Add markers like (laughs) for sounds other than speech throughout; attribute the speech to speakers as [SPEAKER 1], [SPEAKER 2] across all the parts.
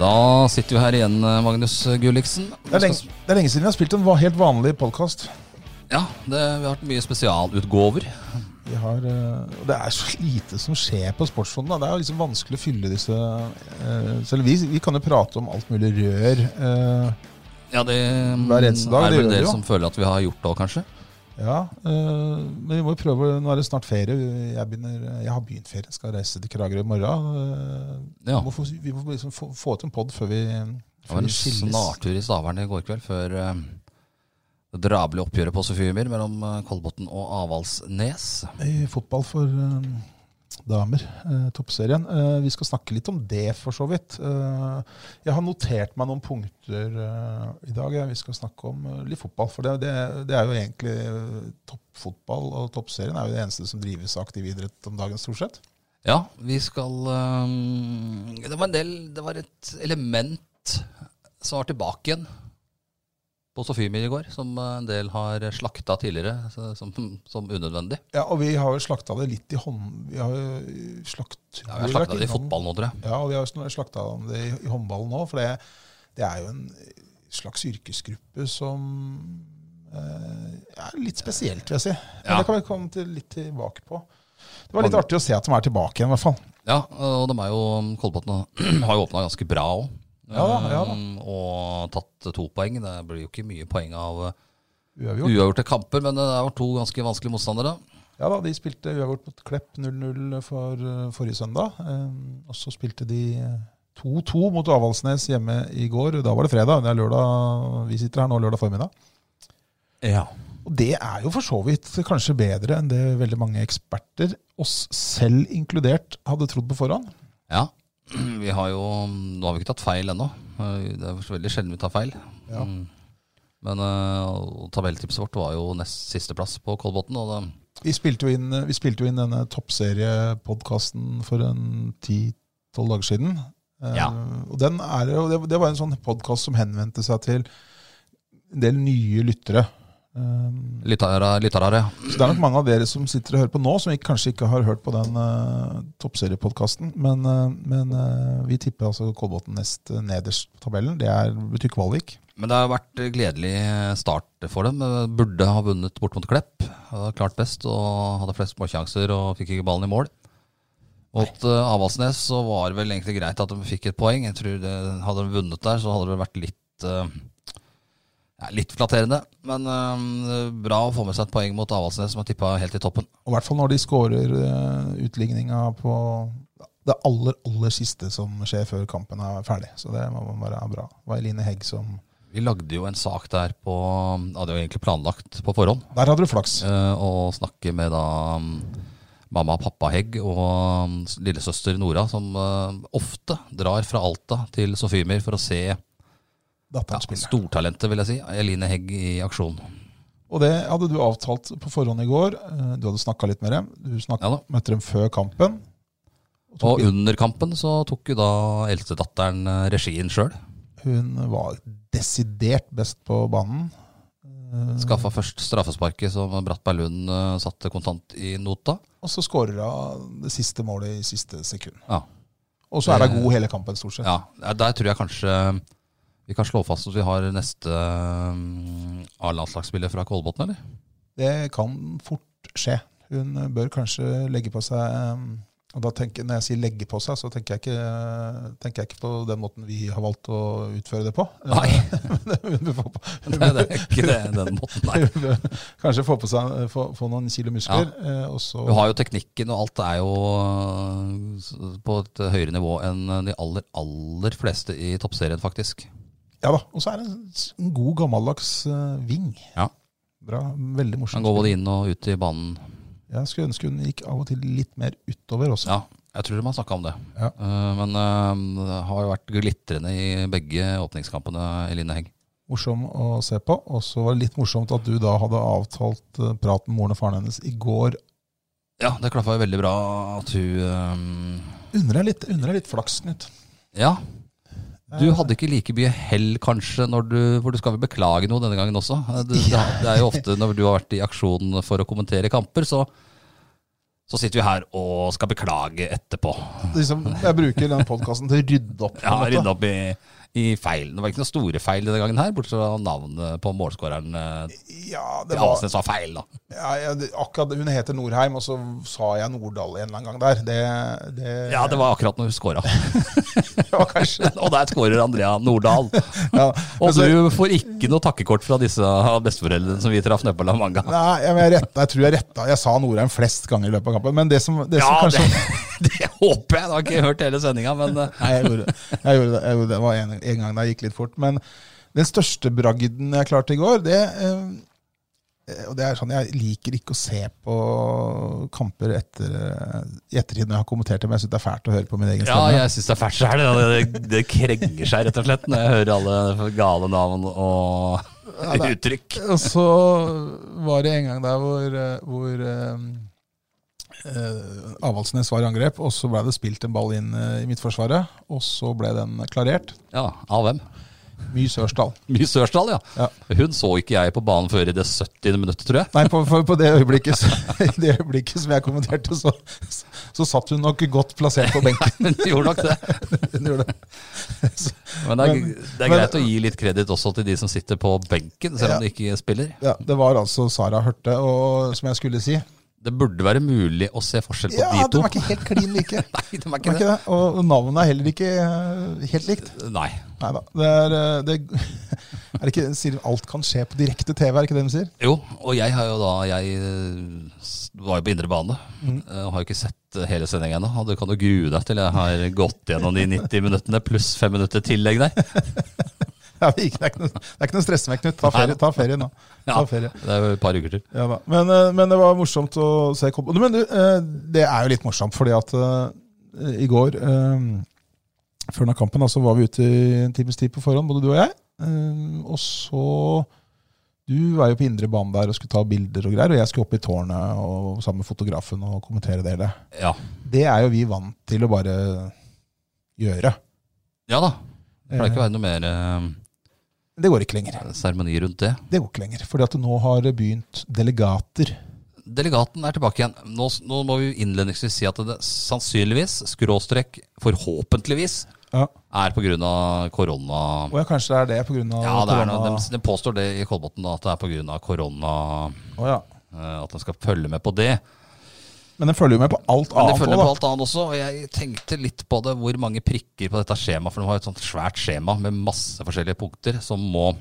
[SPEAKER 1] Da sitter vi her igjen, Magnus Gulliksen.
[SPEAKER 2] Det er, lenge, det er lenge siden vi har spilt en va- helt vanlig podkast.
[SPEAKER 1] Ja, det, Vi har hatt mye spesialutgåver.
[SPEAKER 2] Vi har, eh, og det er så lite som skjer på Sportsfonden. da. Det er jo liksom vanskelig å fylle disse eh, Selv vi, vi kan jo prate om alt mulig rør. eh,
[SPEAKER 1] Ja, Det
[SPEAKER 2] Hver eneste dag,
[SPEAKER 1] er vel
[SPEAKER 2] det gjør vi
[SPEAKER 1] dere
[SPEAKER 2] jo.
[SPEAKER 1] som føler at vi har gjort det òg, kanskje.
[SPEAKER 2] ja, eh, Men vi må jo prøve. Nå er det snart ferie. Jeg, begynner, jeg har begynt ferie. Skal reise til Kragerø i morgen. eh,
[SPEAKER 1] Ja.
[SPEAKER 2] vi må, få, vi må liksom få, få til en pod før vi,
[SPEAKER 1] Det var
[SPEAKER 2] før
[SPEAKER 1] en
[SPEAKER 2] vi skilles.
[SPEAKER 1] snartur i Stavern i går kveld før eh, det drabelige oppgjøret på Sofiemyr mellom eh, Kolbotn og Avaldsnes.
[SPEAKER 2] I fotball for eh, damer, eh, toppserien. Eh, vi skal snakke litt om det, for så vidt. Eh, jeg har notert meg noen punkter eh, i dag. Ja. Vi skal snakke om eh, litt fotball. For det, det, det er jo egentlig eh, toppfotball, og toppserien er jo det eneste som drives av aktiv idrett om dagen, stort sett.
[SPEAKER 1] Ja, vi skal eh, Det var en del Det var et element som var tilbake igjen på Sofiemyr i går, som eh, en del har slakta tidligere så- som, som unødvendig.
[SPEAKER 2] Ja, og vi har jo slakta det litt i hånd... Vi har jo slakt...
[SPEAKER 1] Ja, vi har slakta det i
[SPEAKER 2] innom-
[SPEAKER 1] fotball nå, tror jeg.
[SPEAKER 2] Ja, og vi har sn- slakta om det i- i håndballen òg, for det, det er jo en slags yrkesgruppe som eh, er litt spesielt, vil jeg si. Men
[SPEAKER 1] Ja.
[SPEAKER 2] Det kan vi komme til litt tilbake på. Det var litt artig å se at de er tilbake igjen, i hvert fall.
[SPEAKER 1] Ja, og de er jo, Kolbotn har (clears throat) jo åpna ganske bra òg.
[SPEAKER 2] Ja da, ja da.
[SPEAKER 1] Og tatt to poeng. Det blir jo ikke mye poeng av eh,
[SPEAKER 2] Uavgjort.
[SPEAKER 1] uavgjorte kamper, men eh, det var to ganske vanskelige motstandere.
[SPEAKER 2] Ja da, de spilte uavgjort mot Klepp 0-0 for eh, forrige søndag. Eh, og så spilte de 2-2 mot Avaldsnes hjemme i går. Da var det fredag. Det er lørdag. Vi sitter her nå lørdag formiddag.
[SPEAKER 1] Ja.
[SPEAKER 2] Og det er jo for så vidt kanskje bedre enn det veldig mange eksperter, oss selv inkludert, hadde trodd på forhånd.
[SPEAKER 1] ja. (clears throat) Vi har jo Nå har vi ikke tatt feil ennå. Eh, Det er veldig sjelden vi tar feil.
[SPEAKER 2] Ja.
[SPEAKER 1] Mm. Men eh, og tabelltipset vårt var jo nest sisteplass på Kolbotn. Og det,
[SPEAKER 2] Vi spilte jo inn, vi spilte jo inn denne toppseriepodkasten for en 10-12 dager siden. Eh,
[SPEAKER 1] Ja.
[SPEAKER 2] og den er, jo- det, det var en sånn podkast som henvendte seg til en del nye lyttere. Eh,
[SPEAKER 1] lyttere, lyttere, ja.
[SPEAKER 2] så det er nok mange av dere som sitter og hører på nå, som ikke, kanskje ikke har hørt på den uh, toppseriepodkasten. Men, eh, men eh, vi tipper altså Kolbotn nest eh, nederst på tabellen. Det er, betyr kvalik.
[SPEAKER 1] Men det har vært gledelig start for dem. Burde ha vunnet bort mot Klepp. Hadde Klart best og hadde flest småsjanser og fikk ikke ballen i mål. Mot eh, Avaldsnes så var det vel egentlig greit at de fikk et poeng. Jeg tror det, Hadde de vunnet der, så hadde det vært litt eh, ja, Litt flatterende. Men eh, bra å få med seg et poeng mot Avaldsnes, som er tippa helt i toppen.
[SPEAKER 2] Og I hvert fall når de skårer eh, utligninga på det aller, aller siste som skjer før kampen er ferdig. Så det må man være bra. Det var Eline Hegg som
[SPEAKER 1] Vi lagde jo en sak der på Hadde jo egentlig planlagt på forhånd.
[SPEAKER 2] Der hadde du flaks.
[SPEAKER 1] eh, og snakke med da mm, mamma og pappa Hegg og mm, s- lillesøster Nora, som eh, ofte drar fra Alta til Sofiemyr for å se ja,
[SPEAKER 2] Datteren spiller.
[SPEAKER 1] stortalentet, vil jeg si, Eline Hegg i aksjon.
[SPEAKER 2] Og det hadde du avtalt på forhånd i går. Eh, Du hadde snakka litt med dem. Du snakket,
[SPEAKER 1] Ja da.
[SPEAKER 2] møtte dem før kampen. tok
[SPEAKER 1] Og under kampen så tok jo da eldstedatteren eh, regien sjøl.
[SPEAKER 2] Hun var desidert best på banen. Eh,
[SPEAKER 1] Skaffa først straffesparket som Brattberg Lund eh, satte kontant i nota.
[SPEAKER 2] Og så skårer hun det siste målet i siste sekund.
[SPEAKER 1] Ja.
[SPEAKER 2] Og så er hun
[SPEAKER 1] Det-
[SPEAKER 2] god hele kampen, stort sett.
[SPEAKER 1] Ja, der tror jeg kanskje vi kan slå fast at vi har neste mm, A-landslagsspiller fra Kolbotn, eller?
[SPEAKER 2] Det kan fort skje. Hun bør kanskje legge på seg eh, og da tenker, Når jeg sier legge på seg, så tenker jeg, ikke, tenker jeg ikke på den måten vi har valgt å utføre det på.
[SPEAKER 1] Nei. (laughs)
[SPEAKER 2] (laughs) Hun bør få på-
[SPEAKER 1] Nei, det er ikke det, den måten der.
[SPEAKER 2] hun bør kanskje få på seg få, få noen kilo muskler. eh, Og så,
[SPEAKER 1] Du har jo teknikken, og alt er jo øh, s- på et høyere nivå enn de aller, aller fleste i toppserien, faktisk.
[SPEAKER 2] ja da, og så er det en, s- en god, gammeldags eh, ving.
[SPEAKER 1] Ja.
[SPEAKER 2] Bra, Veldig
[SPEAKER 1] Han
[SPEAKER 2] morsomt.
[SPEAKER 1] går både inn og ut i banen.
[SPEAKER 2] Jeg skulle ønske hun gikk av og til litt mer utover også.
[SPEAKER 1] Ja, Jeg tror de har snakka om det.
[SPEAKER 2] Ja.
[SPEAKER 1] Eh, men eh, det har jo vært glitrende i begge åpningskampene, Eline Hegg.
[SPEAKER 2] Morsom å se på. Og så var det litt morsomt at du da hadde avtalt eh, prat med moren og faren hennes i går.
[SPEAKER 1] Ja, det klaffa jo veldig bra at hun eh,
[SPEAKER 2] Unner deg litt, unner deg litt flaks, Knut. Eh,
[SPEAKER 1] Ja. Du hadde ikke like mye hell, kanskje, når du, for du skal vel beklage noe denne gangen også. Eh, Du, det, det er jo ofte når du har vært i aksjon for å kommentere kamper, så, så sitter vi her og skal beklage etterpå.
[SPEAKER 2] liksom, Jeg bruker denne podkasten til å rydde opp. på
[SPEAKER 1] Ja,
[SPEAKER 2] en måte.
[SPEAKER 1] rydde opp i, i feilen. Det var ikke noen store feil denne gangen her, bortsett fra navnet på målskåreren. eh,
[SPEAKER 2] Ja,
[SPEAKER 1] til
[SPEAKER 2] det var,
[SPEAKER 1] Avaldsnes var feil, da.
[SPEAKER 2] ja, ja, det- akkurat, hun heter Norheim, og så sa jeg Nordahl en eller annen gang der. Det, det,
[SPEAKER 1] Ja, det var akkurat når hun skåra.
[SPEAKER 2] (laughs) var kanskje
[SPEAKER 1] (laughs) Og der skårer Andrea (laughs) Nordahl.
[SPEAKER 2] ja.
[SPEAKER 1] Og
[SPEAKER 2] men så-
[SPEAKER 1] du får ikke noe takkekort fra disse besteforeldrene som vi traff nede på La Manga.
[SPEAKER 2] Nei, jeg, jeg, retta, jeg tror jeg retta Jeg sa Norheim flest ganger i løpet av kampen, men det som, det som
[SPEAKER 1] Ja,
[SPEAKER 2] kanskje
[SPEAKER 1] det, (laughs) det håper jeg. Da har ikke jeg hørt hele sendinga, men eh,
[SPEAKER 2] Nei, jeg gjorde, det. jeg gjorde det. Jeg gjorde det. det var en, en gang da jeg gikk litt fort. Men den største bragden jeg klarte i går, det eh, Og det er sånn jeg liker ikke å se på kamper etter, eh, i ettertid når jeg har kommentert det, men jeg syns det er fælt å høre på min egen
[SPEAKER 1] ja,
[SPEAKER 2] stemme.
[SPEAKER 1] jeg syns det er fælt sjæl. Det, det, det krenger seg rett og slett når jeg hører alle gale navn og uttrykk.
[SPEAKER 2] Og så var det en gang der hvor, eh, hvor eh, eh, Avaldsnes var i angrep, og så ble det spilt en ball inn eh, i midtforsvaret. Og så ble den klarert.
[SPEAKER 1] Ja, Av hvem?
[SPEAKER 2] Mye Sørsdal.
[SPEAKER 1] Mye Sørsdal, ja.
[SPEAKER 2] Ja.
[SPEAKER 1] Hun så ikke jeg på banen før i det 70. minuttet, tror jeg. (laughs)
[SPEAKER 2] Nei, på, for på det øyeblikket, så- (laughs) i det øyeblikket som jeg kommenterte, så, så, så satt hun nok godt plassert på benken. (laughs)
[SPEAKER 1] Hun gjorde nok det.
[SPEAKER 2] Hun gjorde det. Så,
[SPEAKER 1] Men det er,
[SPEAKER 2] Men-
[SPEAKER 1] det er
[SPEAKER 2] men-
[SPEAKER 1] greit å gi litt kreditt også til de som sitter på benken, selv om de ikke spiller.
[SPEAKER 2] ja, det var altså Sara Hørte, og, som jeg skulle si.
[SPEAKER 1] Det burde være mulig å se forskjell på
[SPEAKER 2] Ja,
[SPEAKER 1] de
[SPEAKER 2] de
[SPEAKER 1] to.
[SPEAKER 2] var ikke helt
[SPEAKER 1] (laughs)
[SPEAKER 2] klin like.
[SPEAKER 1] Nei, de er
[SPEAKER 2] De var
[SPEAKER 1] ikke
[SPEAKER 2] ikke
[SPEAKER 1] det.
[SPEAKER 2] det. Og og navnet er heller ikke eh, helt likt.
[SPEAKER 1] Nei.
[SPEAKER 2] Nei da. Det er, eh, det, (laughs) er det ikke, sier de alt kan skje på direkte TV, er det ikke det de sier?
[SPEAKER 1] Jo, og jeg har jo da Jeg eh, s- var jo på indre bane. eh, Og har jo ikke sett eh, hele sendinga ennå. Og Du kan jo grue deg til jeg har gått gjennom de 90 minuttene pluss fem minutter tillegg der.
[SPEAKER 2] Ja, det er ikke- det er ikke noe, det er ikke noe stress med, Knut. Ta ferie, ta ferie nå.
[SPEAKER 1] Ja,
[SPEAKER 2] Ta ferie.
[SPEAKER 1] det er jo et par uker til.
[SPEAKER 2] Ja da. Men, eh, men det var morsomt å se kom- Men du, eh, det er jo litt morsomt, fordi at eh, i går, eh, før denne kampen, da, så var vi ute i en times tid på forhånd, både du og jeg. Eh, Og så Du var jo på indre bane der og skulle ta bilder og greier, og jeg skulle opp i tårnet og sammen med fotografen og kommentere det hele.
[SPEAKER 1] Ja,
[SPEAKER 2] Det er jo vi vant til å bare gjøre.
[SPEAKER 1] ja da. Det pleier ikke å være noe mer eh,
[SPEAKER 2] Det går ikke lenger.
[SPEAKER 1] seremoni rundt det.
[SPEAKER 2] Det går ikke lenger, fordi at nå har det begynt delegater.
[SPEAKER 1] Delegaten er tilbake igjen. Nå, s- nå må vi innledningsvis si at det sannsynligvis, skråstrek forhåpentligvis,
[SPEAKER 2] Ja.
[SPEAKER 1] er pga. korona...
[SPEAKER 2] Og ja, kanskje det er det pga.
[SPEAKER 1] Ja, det er noe, de, de påstår det i Kolbotn, da, at det er pga. korona
[SPEAKER 2] Å, ja.
[SPEAKER 1] eh, at de skal følge med på det.
[SPEAKER 2] Men den følger jo med på alt
[SPEAKER 1] Men det
[SPEAKER 2] annet.
[SPEAKER 1] følger
[SPEAKER 2] også,
[SPEAKER 1] med
[SPEAKER 2] da.
[SPEAKER 1] på alt annet også, og jeg tenkte litt på det, hvor mange prikker på dette skjemaet, for det var et sånt svært skjema med masse forskjellige punkter som må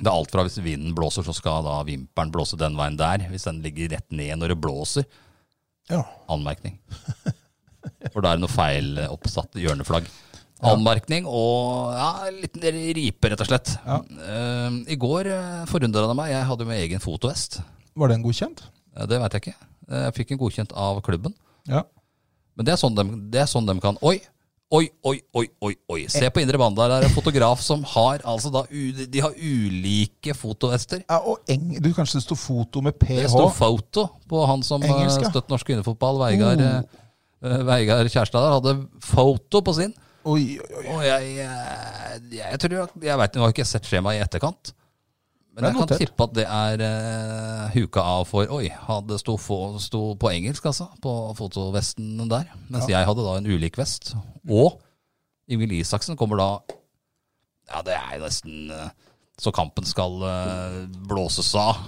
[SPEAKER 1] det er alt fra hvis vinden blåser, så skal da vimpelen blåse den veien der. Hvis den ligger rett ned når det blåser.
[SPEAKER 2] Ja. (laughs)
[SPEAKER 1] Anmerkning. For da er det noe feil eh, oppsatt hjørneflagg. Anmerkning og ja, en liten ripe, rett og slett. Eh, I går uh, forundra det meg. Jeg hadde jo med egen fotovest.
[SPEAKER 2] Var den godkjent?
[SPEAKER 1] Eh, Det veit jeg ikke. Eh, Jeg fikk en godkjent av klubben.
[SPEAKER 2] Ja.
[SPEAKER 1] Men det er sånn de, det er sånn dem kan Oi, oi, oi, oi, oi, oi. Se på indre bane. Der er det en fotograf som har altså da, u- De har ulike fotovester.
[SPEAKER 2] og eng, du Kanskje det sto foto med PH?
[SPEAKER 1] Det står foto på han som eh,
[SPEAKER 2] Engelsk, ja. Oh.
[SPEAKER 1] støtt norsk kvinnefotball, Veigard, eh, eh, Veigard Kjærstad der, hadde foto på sin.
[SPEAKER 2] Oi, oi, oi.
[SPEAKER 1] Og jeg, jeg, jeg tror Jeg, jeg vet, Nå har jeg ikke sett skjemaet i etterkant. Men
[SPEAKER 2] Det er
[SPEAKER 1] jeg kan
[SPEAKER 2] notert.
[SPEAKER 1] tippe at det er eh, huka av for Oi, han- det sto, få- sto på engelsk, altså. På fotovesten der. Mens jeg hadde da en ulik vest. Og Ingvild Isaksen kommer da Ja, det er jo nesten eh, så kampen skal eh, blåses av.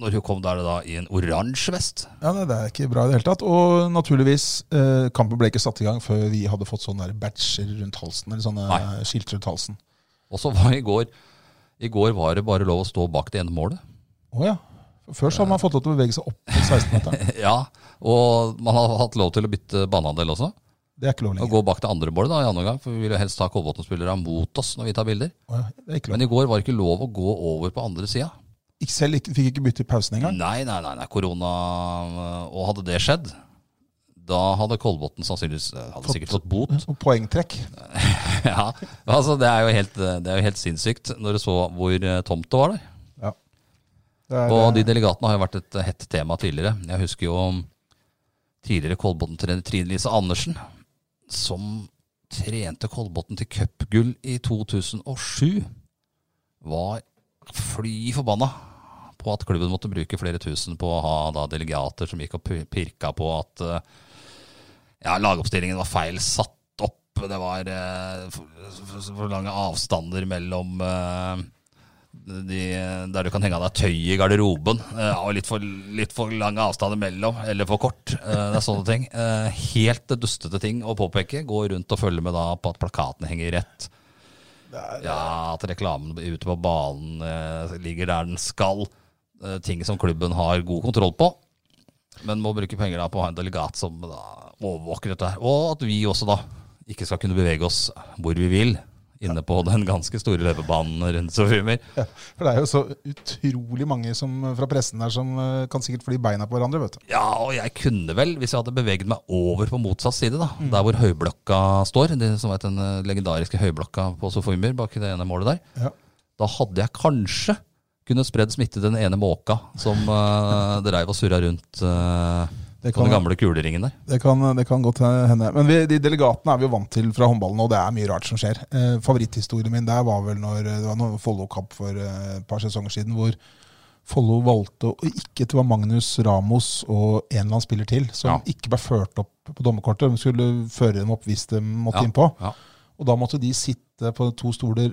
[SPEAKER 1] Når hun kom, da er det da i en oransje vest.
[SPEAKER 2] Ja, nei, Det er ikke bra i det hele tatt. Og naturligvis, eh, kampen ble ikke satt i gang før vi hadde fått sånne der badger rundt halsen. Eller sånne
[SPEAKER 1] Nei.
[SPEAKER 2] eh, skilt rundt halsen.
[SPEAKER 1] Og så var i går I går var det bare lov å stå bak det ene målet.
[SPEAKER 2] Å ja. Før så har man fått lov til å bevege seg opp til 16-meteren.
[SPEAKER 1] (laughs) Ja, og man har hatt lov til å bytte banehandel også.
[SPEAKER 2] Det er ikke lov
[SPEAKER 1] Og
[SPEAKER 2] lenger.
[SPEAKER 1] gå bak det andre målet da, i andre omgang, for vi vil jo helst ta Kolbotn-spillere mot oss når vi tar bilder.
[SPEAKER 2] Å ja, det er ikke lov.
[SPEAKER 1] Men i går var det ikke lov å gå over på andre sida.
[SPEAKER 2] Ikke- Selv ikke, fikk ikke bytte i pausen engang.
[SPEAKER 1] Nei, nei, nei, nei, korona øh, Og hadde det skjedd, Da hadde Kolbotn sannsynligvis eh, hadde sikkert fått bot.
[SPEAKER 2] Og poengtrekk.
[SPEAKER 1] (laughs) ja, (laughs) altså det er, jo helt, det er jo helt sinnssykt når du så hvor eh, tomt det var der.
[SPEAKER 2] Det er,
[SPEAKER 1] Og
[SPEAKER 2] eh,
[SPEAKER 1] de delegatene har jo vært et hett tema tidligere. Jeg husker jo tidligere Kolbotn-trener Trine Lise Andersen, som trente Kolbotn til cupgull i 2007, var fly forbanna på at klubben måtte bruke flere tusen på å ha da delegater som gikk og pu- pirka på at eh, ja, lagoppstillingen var feil satt opp. Det var eh, for, for, for lange avstander mellom eh, de, der du kan henge av deg tøy i garderoben. eh, og litt for, litt for lange avstander mellom, eller for kort. eh, det er sånne ting. Eh, helt dustete ting å påpeke. Gå rundt og følge med da på at plakatene henger rett. Ja, At reklamen ute på banen eh, ligger der den skal. Eh, ting som klubben har god kontroll på. Men må bruke penger da på å ha en delegat som da overvåker dette her. Og at vi også da ikke skal kunne bevege oss hvor vi vil. Inne på den ganske store løpebanen rundt Sofimer.
[SPEAKER 2] (laughs) ja, for det er jo så utrolig mange som, fra pressen her som eh, kan sikkert fly beina på hverandre, vet du.
[SPEAKER 1] Ja, og jeg kunne vel, hvis jeg hadde beveget meg over på motsatt side, da,
[SPEAKER 2] Mm.
[SPEAKER 1] der hvor høyblokka står, det som er den eh, legendariske høyblokka på Sofimer, bak i det ene målet der,
[SPEAKER 2] Ja.
[SPEAKER 1] da hadde jeg kanskje kunnet spredd smitte den ene måka som
[SPEAKER 2] (laughs)
[SPEAKER 1] uh, dreiv og surra rundt eh,
[SPEAKER 2] Det
[SPEAKER 1] på
[SPEAKER 2] kan-
[SPEAKER 1] den gamle kuleringen der.
[SPEAKER 2] Det kan, det kan godt hende. Men vi, de delegatene er vi jo vant til fra håndballen, og det er mye rart som skjer. Eh, favoritthistorien min der var vel når eh, det var noen Follo-kamp for eh, et par sesonger siden, hvor Follo valgte å ikke Det var Magnus Ramos og en eller annen spiller til,
[SPEAKER 1] Ja.
[SPEAKER 2] som ikke ble ført opp på dommerkortet. De skulle føre dem opp hvis de måtte innpå.
[SPEAKER 1] Ja.
[SPEAKER 2] Og da måtte de sitte på to stoler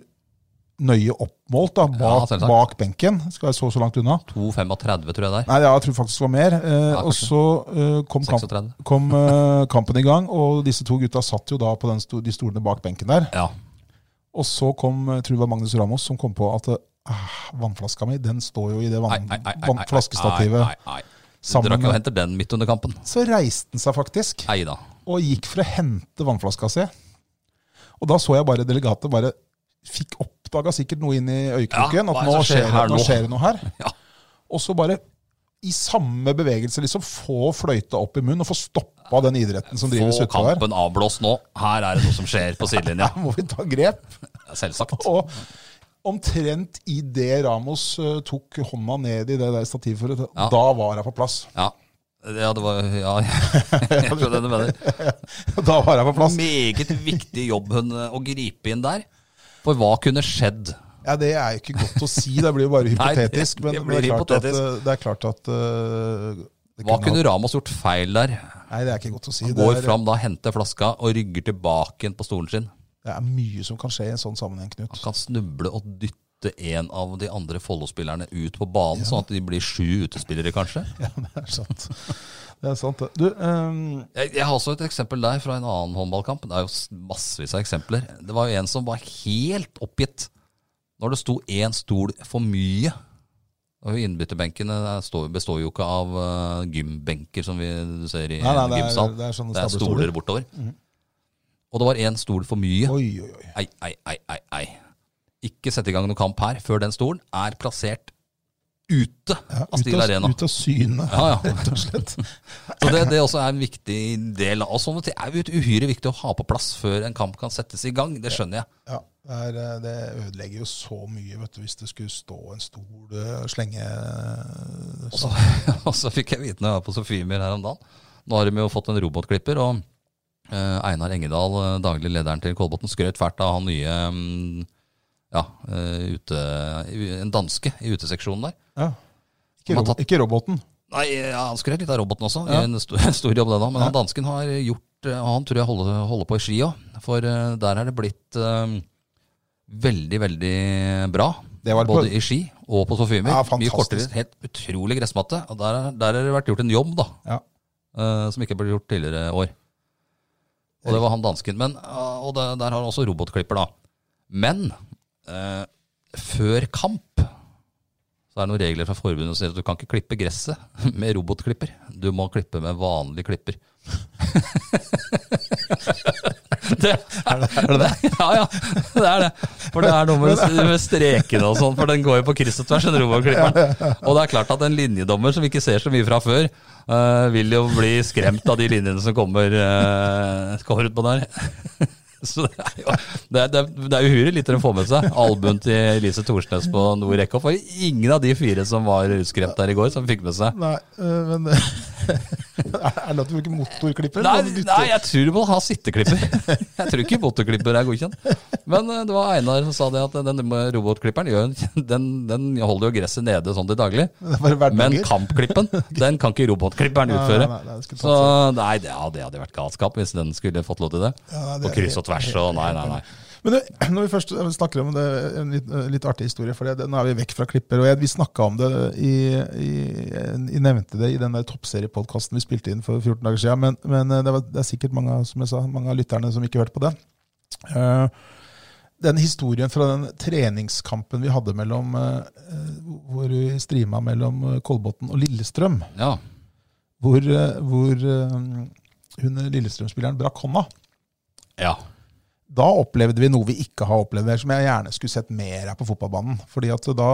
[SPEAKER 2] nøye oppmålt da,
[SPEAKER 1] Ja,
[SPEAKER 2] bak,
[SPEAKER 1] selvsagt.
[SPEAKER 2] bak benken. Skal være så så langt unna.
[SPEAKER 1] 2,35 tror jeg der.
[SPEAKER 2] Nei, ja, jeg tror faktisk det var mer. Eh,
[SPEAKER 1] Ja,
[SPEAKER 2] og
[SPEAKER 1] kanskje.
[SPEAKER 2] så eh, kom kampen
[SPEAKER 1] 36.
[SPEAKER 2] kom eh, kampen i gang, og disse to gutta satt jo da på den sto de stolene bak benken der.
[SPEAKER 1] Ja.
[SPEAKER 2] Og så kom eh, tror jeg det var Magnus Ramos som kom på at eh, vannflaska mi den står jo i det
[SPEAKER 1] Nei,
[SPEAKER 2] vann,
[SPEAKER 1] nei, nei, nei, nei,
[SPEAKER 2] vannflaskestativet.
[SPEAKER 1] Nei, nei, nei. Du
[SPEAKER 2] Sammen
[SPEAKER 1] drakk jo og
[SPEAKER 2] med,
[SPEAKER 1] henter den midt under kampen.
[SPEAKER 2] så reiste han seg faktisk,
[SPEAKER 1] Nei da.
[SPEAKER 2] og gikk for å hente vannflaska si. Og da så jeg bare delegatet bare fikk oppdaga sikkert noe inn i
[SPEAKER 1] Ja,
[SPEAKER 2] øyekroken,
[SPEAKER 1] hva er
[SPEAKER 2] at nå
[SPEAKER 1] det som skjer
[SPEAKER 2] skjer,
[SPEAKER 1] her
[SPEAKER 2] det- nå
[SPEAKER 1] nå?
[SPEAKER 2] skjer det noe her.
[SPEAKER 1] (laughs) Ja.
[SPEAKER 2] Og så bare i samme bevegelse liksom få fløyta opp i munnen og få stoppa den idretten som drives
[SPEAKER 1] Få
[SPEAKER 2] utpå der.
[SPEAKER 1] kampen avblåst nå. Her er det noe som skjer på sidelinja.
[SPEAKER 2] Her må vi ta grep.
[SPEAKER 1] Selvsagt.
[SPEAKER 2] Og omtrent idet Ramos eh, tok hånda ned i det der stativet, for å ta-
[SPEAKER 1] Ja.
[SPEAKER 2] da var jeg på plass.
[SPEAKER 1] (laughs) Ja. Ja, det var Ja, (laughs) jeg skjønner hva du
[SPEAKER 2] (laughs)
[SPEAKER 1] mener.
[SPEAKER 2] da var jeg på plass.
[SPEAKER 1] Meget viktig jobb hun eh, å gripe inn der. For hva kunne skjedd?
[SPEAKER 2] Ja, det er jo ikke godt å si, det blir jo
[SPEAKER 1] (laughs)
[SPEAKER 2] bare
[SPEAKER 1] Nei, det-
[SPEAKER 2] hypotetisk. Men
[SPEAKER 1] det
[SPEAKER 2] det,
[SPEAKER 1] blir
[SPEAKER 2] er klart at,
[SPEAKER 1] hypotetisk.
[SPEAKER 2] eh, det er klart at eh, det
[SPEAKER 1] Hva
[SPEAKER 2] ha-
[SPEAKER 1] kunne Ramos gjort feil der?
[SPEAKER 2] Nei, det er ikke godt å si.
[SPEAKER 1] Han
[SPEAKER 2] Det
[SPEAKER 1] går
[SPEAKER 2] er,
[SPEAKER 1] fram da, henter flaska og rygger tilbake igjen på stolen sin.
[SPEAKER 2] det er mye som kan skje i en sånn sammenheng,
[SPEAKER 1] Han
[SPEAKER 2] Knut.
[SPEAKER 1] kan snuble og dytte en av de andre Follo-spillerne ut på banen, sånn at de blir sju utespillere, kanskje.
[SPEAKER 2] Ja, (laughs) det er sant. Det er sant. det. Du, eh,
[SPEAKER 1] Jeg, jeg har også et eksempel der fra en annen håndballkamp. Det er jo s- massevis av eksempler. Det var jo en som var helt oppgitt når det sto én stol for mye. Og Innbytterbenkene er- står- består jo ikke av eh, gymbenker, som vi ser i
[SPEAKER 2] nei, nei,
[SPEAKER 1] en
[SPEAKER 2] det er,
[SPEAKER 1] gymsal.
[SPEAKER 2] det er sånne
[SPEAKER 1] Det er
[SPEAKER 2] stablestoler. Mhm.
[SPEAKER 1] stoler bortover. Og det var én stol for mye.
[SPEAKER 2] Oi, oi, oi.
[SPEAKER 1] Ei, ei, ei, ei, ei. Ikke sette i gang noen kamp her før den stolen er plassert ute
[SPEAKER 2] Ja,
[SPEAKER 1] av Stil
[SPEAKER 2] ut,
[SPEAKER 1] Arena.
[SPEAKER 2] av, ut av syne,
[SPEAKER 1] Ja, ja.
[SPEAKER 2] rett og slett.
[SPEAKER 1] Så det, det også er en viktig del av og sånne ting. er jo et uhyre viktig å ha på plass før en kamp kan settes i gang. Det skjønner jeg. (laughs)
[SPEAKER 2] Ja, det, er, eh, det ødelegger jo så mye vet du, hvis det skulle stå en stol eh, slenge eh,
[SPEAKER 1] Og så, og så fikk jeg vite når jeg var på Sofiemyr her om dagen. Nå har de jo fått en robotklipper, og eh, Einar Engedal, eh, daglig lederen til Kolbotn, skrøt fælt av han nye mm, ja, eh, ute, en danske i uteseksjonen der.
[SPEAKER 2] ja. ikke,
[SPEAKER 1] Man
[SPEAKER 2] robo- ikke roboten.
[SPEAKER 1] Nei, eh, ja, han skrøt litt av roboten også.
[SPEAKER 2] Ja.
[SPEAKER 1] (laughs) En stor, stor jobb, det da. Men han dansken har gjort eh, Han tror jeg holder, holder på i ski òg. For eh, der er det blitt eh, veldig, veldig bra.
[SPEAKER 2] Det var
[SPEAKER 1] Både
[SPEAKER 2] på-
[SPEAKER 1] i ski og på Sofimer.
[SPEAKER 2] Ja,
[SPEAKER 1] Mye kortere,
[SPEAKER 2] fantastisk.
[SPEAKER 1] helt utrolig gressmatte. Og der, er- der har det vært gjort en jobb, da.
[SPEAKER 2] Ja.
[SPEAKER 1] eh, som ikke ble gjort tidligere år. Og det var han dansken. Men, eh, og det, der har han også robotklipper, da. Men eh, før kamp så er det noen regler fra forbundet som sier at du kan ikke klippe gresset (laughs) med robotklipper. Du må klippe med vanlig klipper. Det, er, det det? (laughs) Ja, ja. Det er det. For det er noe med, med strekene og sånn, for den går jo på kryss og tvers. den romerklipperen. Og det er klart at en linjedommer som ikke ser så mye fra før, eh, vil jo bli skremt av de linjene som kommer, eh, kommer utpå der. (laughs) Så det er jo det er, det er, det er uhyre lite de får med seg. Albuen til Elise Thorsnes på nord rekke. For ingen av de fire som var utskremt der i går, som fikk med seg
[SPEAKER 2] Nei, øh, men (laughs) Er det lov til å bruke motorklipper?
[SPEAKER 1] Nei,
[SPEAKER 2] Kan du bytte-
[SPEAKER 1] nei, jeg tror du må ha sitteklipper. (laughs) Jeg tror ikke motorklipper er godkjent. Men eh, det var Einar som sa det at den robotklipperen gjør, en- (laughs) den, den holder jo gresset nede sånn til daglig.
[SPEAKER 2] (laughs) Det er bare
[SPEAKER 1] Men
[SPEAKER 2] hverdager. (laughs)
[SPEAKER 1] kampklippen, den kan ikke robotklipperen
[SPEAKER 2] Nei, nei,
[SPEAKER 1] utføre.
[SPEAKER 2] nei, nei, det skulle
[SPEAKER 1] Så
[SPEAKER 2] tatt
[SPEAKER 1] nei, det, ja, det hadde vært galskap hvis den skulle fått lov til det.
[SPEAKER 2] Ja, nei, det
[SPEAKER 1] På
[SPEAKER 2] er
[SPEAKER 1] kryss og
[SPEAKER 2] helt-
[SPEAKER 1] tvers og nei, nei, nei.
[SPEAKER 2] Men det, (clears throat) når vi først eh, snakker om det, en litt, eh, litt artig historie, for det, det, nå er vi vekk fra klipper. og jeg, Vi snakka om det i, i, Jeg nevnte det i den der toppseriepodkasten vi spilte inn for 14 dager siden. Men, men eh, det, var, det er sikkert mange, av- som jeg sa, mange av lytterne som ikke hørte på det. Eh, den historien fra den treningskampen vi hadde mellom eh, eh, hvor vi strima mellom eh, Kolbotn og Lillestrøm,
[SPEAKER 1] Ja,
[SPEAKER 2] hvor, eh, hvor eh, hun Lillestrøm-spilleren brakk hånda.
[SPEAKER 1] ja.
[SPEAKER 2] Da opplevde vi noe vi ikke har opplevd der, som jeg gjerne skulle sett mer av på fotballbanen. Fordi at da,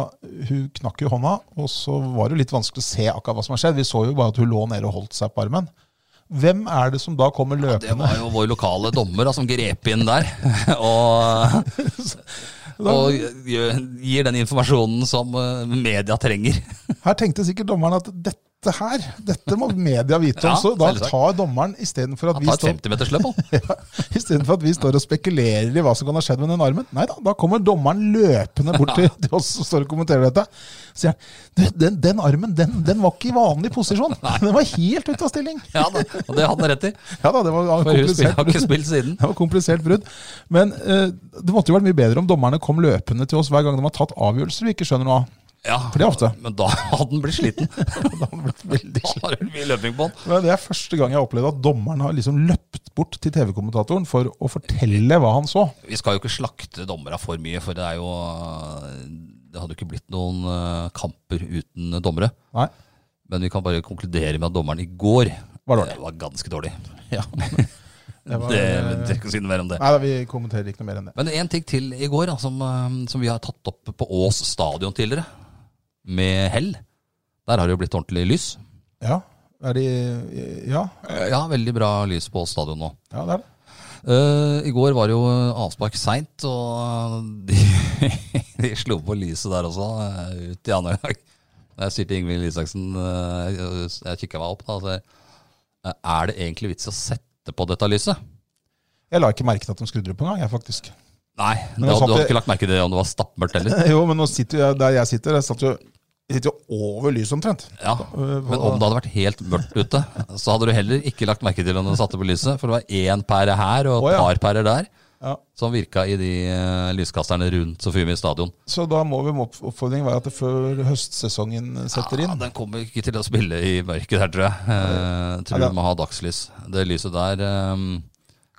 [SPEAKER 2] Hun knakk jo hånda, og så var det litt vanskelig å se akkurat hva som har skjedd. Vi så jo bare at hun lå nede og holdt seg på armen. Hvem er det som da kommer
[SPEAKER 1] Det
[SPEAKER 2] løpende?
[SPEAKER 1] var jo vår lokale dommer da, som grep inn der. (laughs) Og og gjør- gir den informasjonen som eh, media trenger.
[SPEAKER 2] Her tenkte sikkert dommeren at dette her, dette må media vite om.
[SPEAKER 1] Ja,
[SPEAKER 2] så da
[SPEAKER 1] selvsagt.
[SPEAKER 2] tar dommeren, istedenfor at,
[SPEAKER 1] Han
[SPEAKER 2] vi
[SPEAKER 1] tar et
[SPEAKER 2] står-
[SPEAKER 1] 50-metersløp, han.
[SPEAKER 2] (laughs) i stedet for at vi står og spekulerer i hva som kan ha skjedd med den armen, nei da, da kommer dommeren løpende bort (laughs) til, til oss som står og kommenterer dette. Sier han, du, den, den armen, den, den var ikke i vanlig posisjon. Den var helt ute av stilling.
[SPEAKER 1] Ja, da, og det hadde han rett i.
[SPEAKER 2] Ja da, det var
[SPEAKER 1] For hun spiller-
[SPEAKER 2] komplisert
[SPEAKER 1] har ikke
[SPEAKER 2] brudd.
[SPEAKER 1] spilt siden.
[SPEAKER 2] (laughs) Det var komplisert brudd. Men eh, det måtte jo vært mye bedre om dommerne kom løpende til oss hver gang de har tatt avgjørelser vi ikke skjønner noe av.
[SPEAKER 1] Ja,
[SPEAKER 2] For det er ofte.
[SPEAKER 1] Men da hadde han blitt sliten.
[SPEAKER 2] (laughs) Da hadde det blitt veldig
[SPEAKER 1] Da var det mye løping på han.
[SPEAKER 2] Men Det er første gang jeg har opplevd at dommeren har liksom løpt bort til TV-kommentatoren for å fortelle hva han så.
[SPEAKER 1] Vi skal jo ikke slakte dommera for mye, for det er jo Det hadde jo ikke blitt noen eh, kamper uten dommere.
[SPEAKER 2] Nei.
[SPEAKER 1] Men vi kan bare konkludere med at dommeren i går
[SPEAKER 2] Var dårlig.
[SPEAKER 1] eh, var ganske (laughs) dårlig.
[SPEAKER 2] Ja. (laughs) Det var,
[SPEAKER 1] Det, det er ikke å si noe mer om det.
[SPEAKER 2] Nei da, vi kommenterer ikke noe mer enn det.
[SPEAKER 1] Men en ting til i går, da, som, eh, som vi har tatt opp på Ås stadion tidligere, med hell. Der har det jo blitt ordentlig lys.
[SPEAKER 2] Ja, er de, ja,
[SPEAKER 1] Eh, Ja, veldig bra lys på Ås stadion nå.
[SPEAKER 2] ja det er det.
[SPEAKER 1] Eh, I går var det jo avspark seint, og de, (laughs) de slo på lyset der også, eh, ut i andre gang. Jeg sier til Ingvild Isaksen, eh, jeg, jeg kikka meg opp, da, og så, eh, er det egentlig vits i å sette på dette lyset?
[SPEAKER 2] Jeg la ikke merke til at de skrudde det på engang, jeg faktisk.
[SPEAKER 1] Nei, det,
[SPEAKER 2] jeg
[SPEAKER 1] hadde-
[SPEAKER 2] satt
[SPEAKER 1] du hadde
[SPEAKER 2] i-
[SPEAKER 1] ikke lagt merke til det om det var stappmørkt heller.
[SPEAKER 2] (laughs) Jo, men nå sitter jeg der jeg sitter, jeg satt jo, jeg sitter jo over lyset omtrent.
[SPEAKER 1] Ja, Men om det hadde vært helt mørkt ute, så hadde du heller ikke lagt merke til om du satte på lyset. For det var én pære her og
[SPEAKER 2] Å,
[SPEAKER 1] et
[SPEAKER 2] ja.
[SPEAKER 1] par pærer der
[SPEAKER 2] Ja.
[SPEAKER 1] som virka i de eh, lyskasterne rundt Sofiemi stadion.
[SPEAKER 2] Så da må vi opp- oppfordringen være at det før høstsesongen setter
[SPEAKER 1] Ja,
[SPEAKER 2] inn.
[SPEAKER 1] den kommer ikke til å spille i mørket der, tror jeg. Eh, tror
[SPEAKER 2] Ja,
[SPEAKER 1] du må ha dagslys. Det lyset der eh,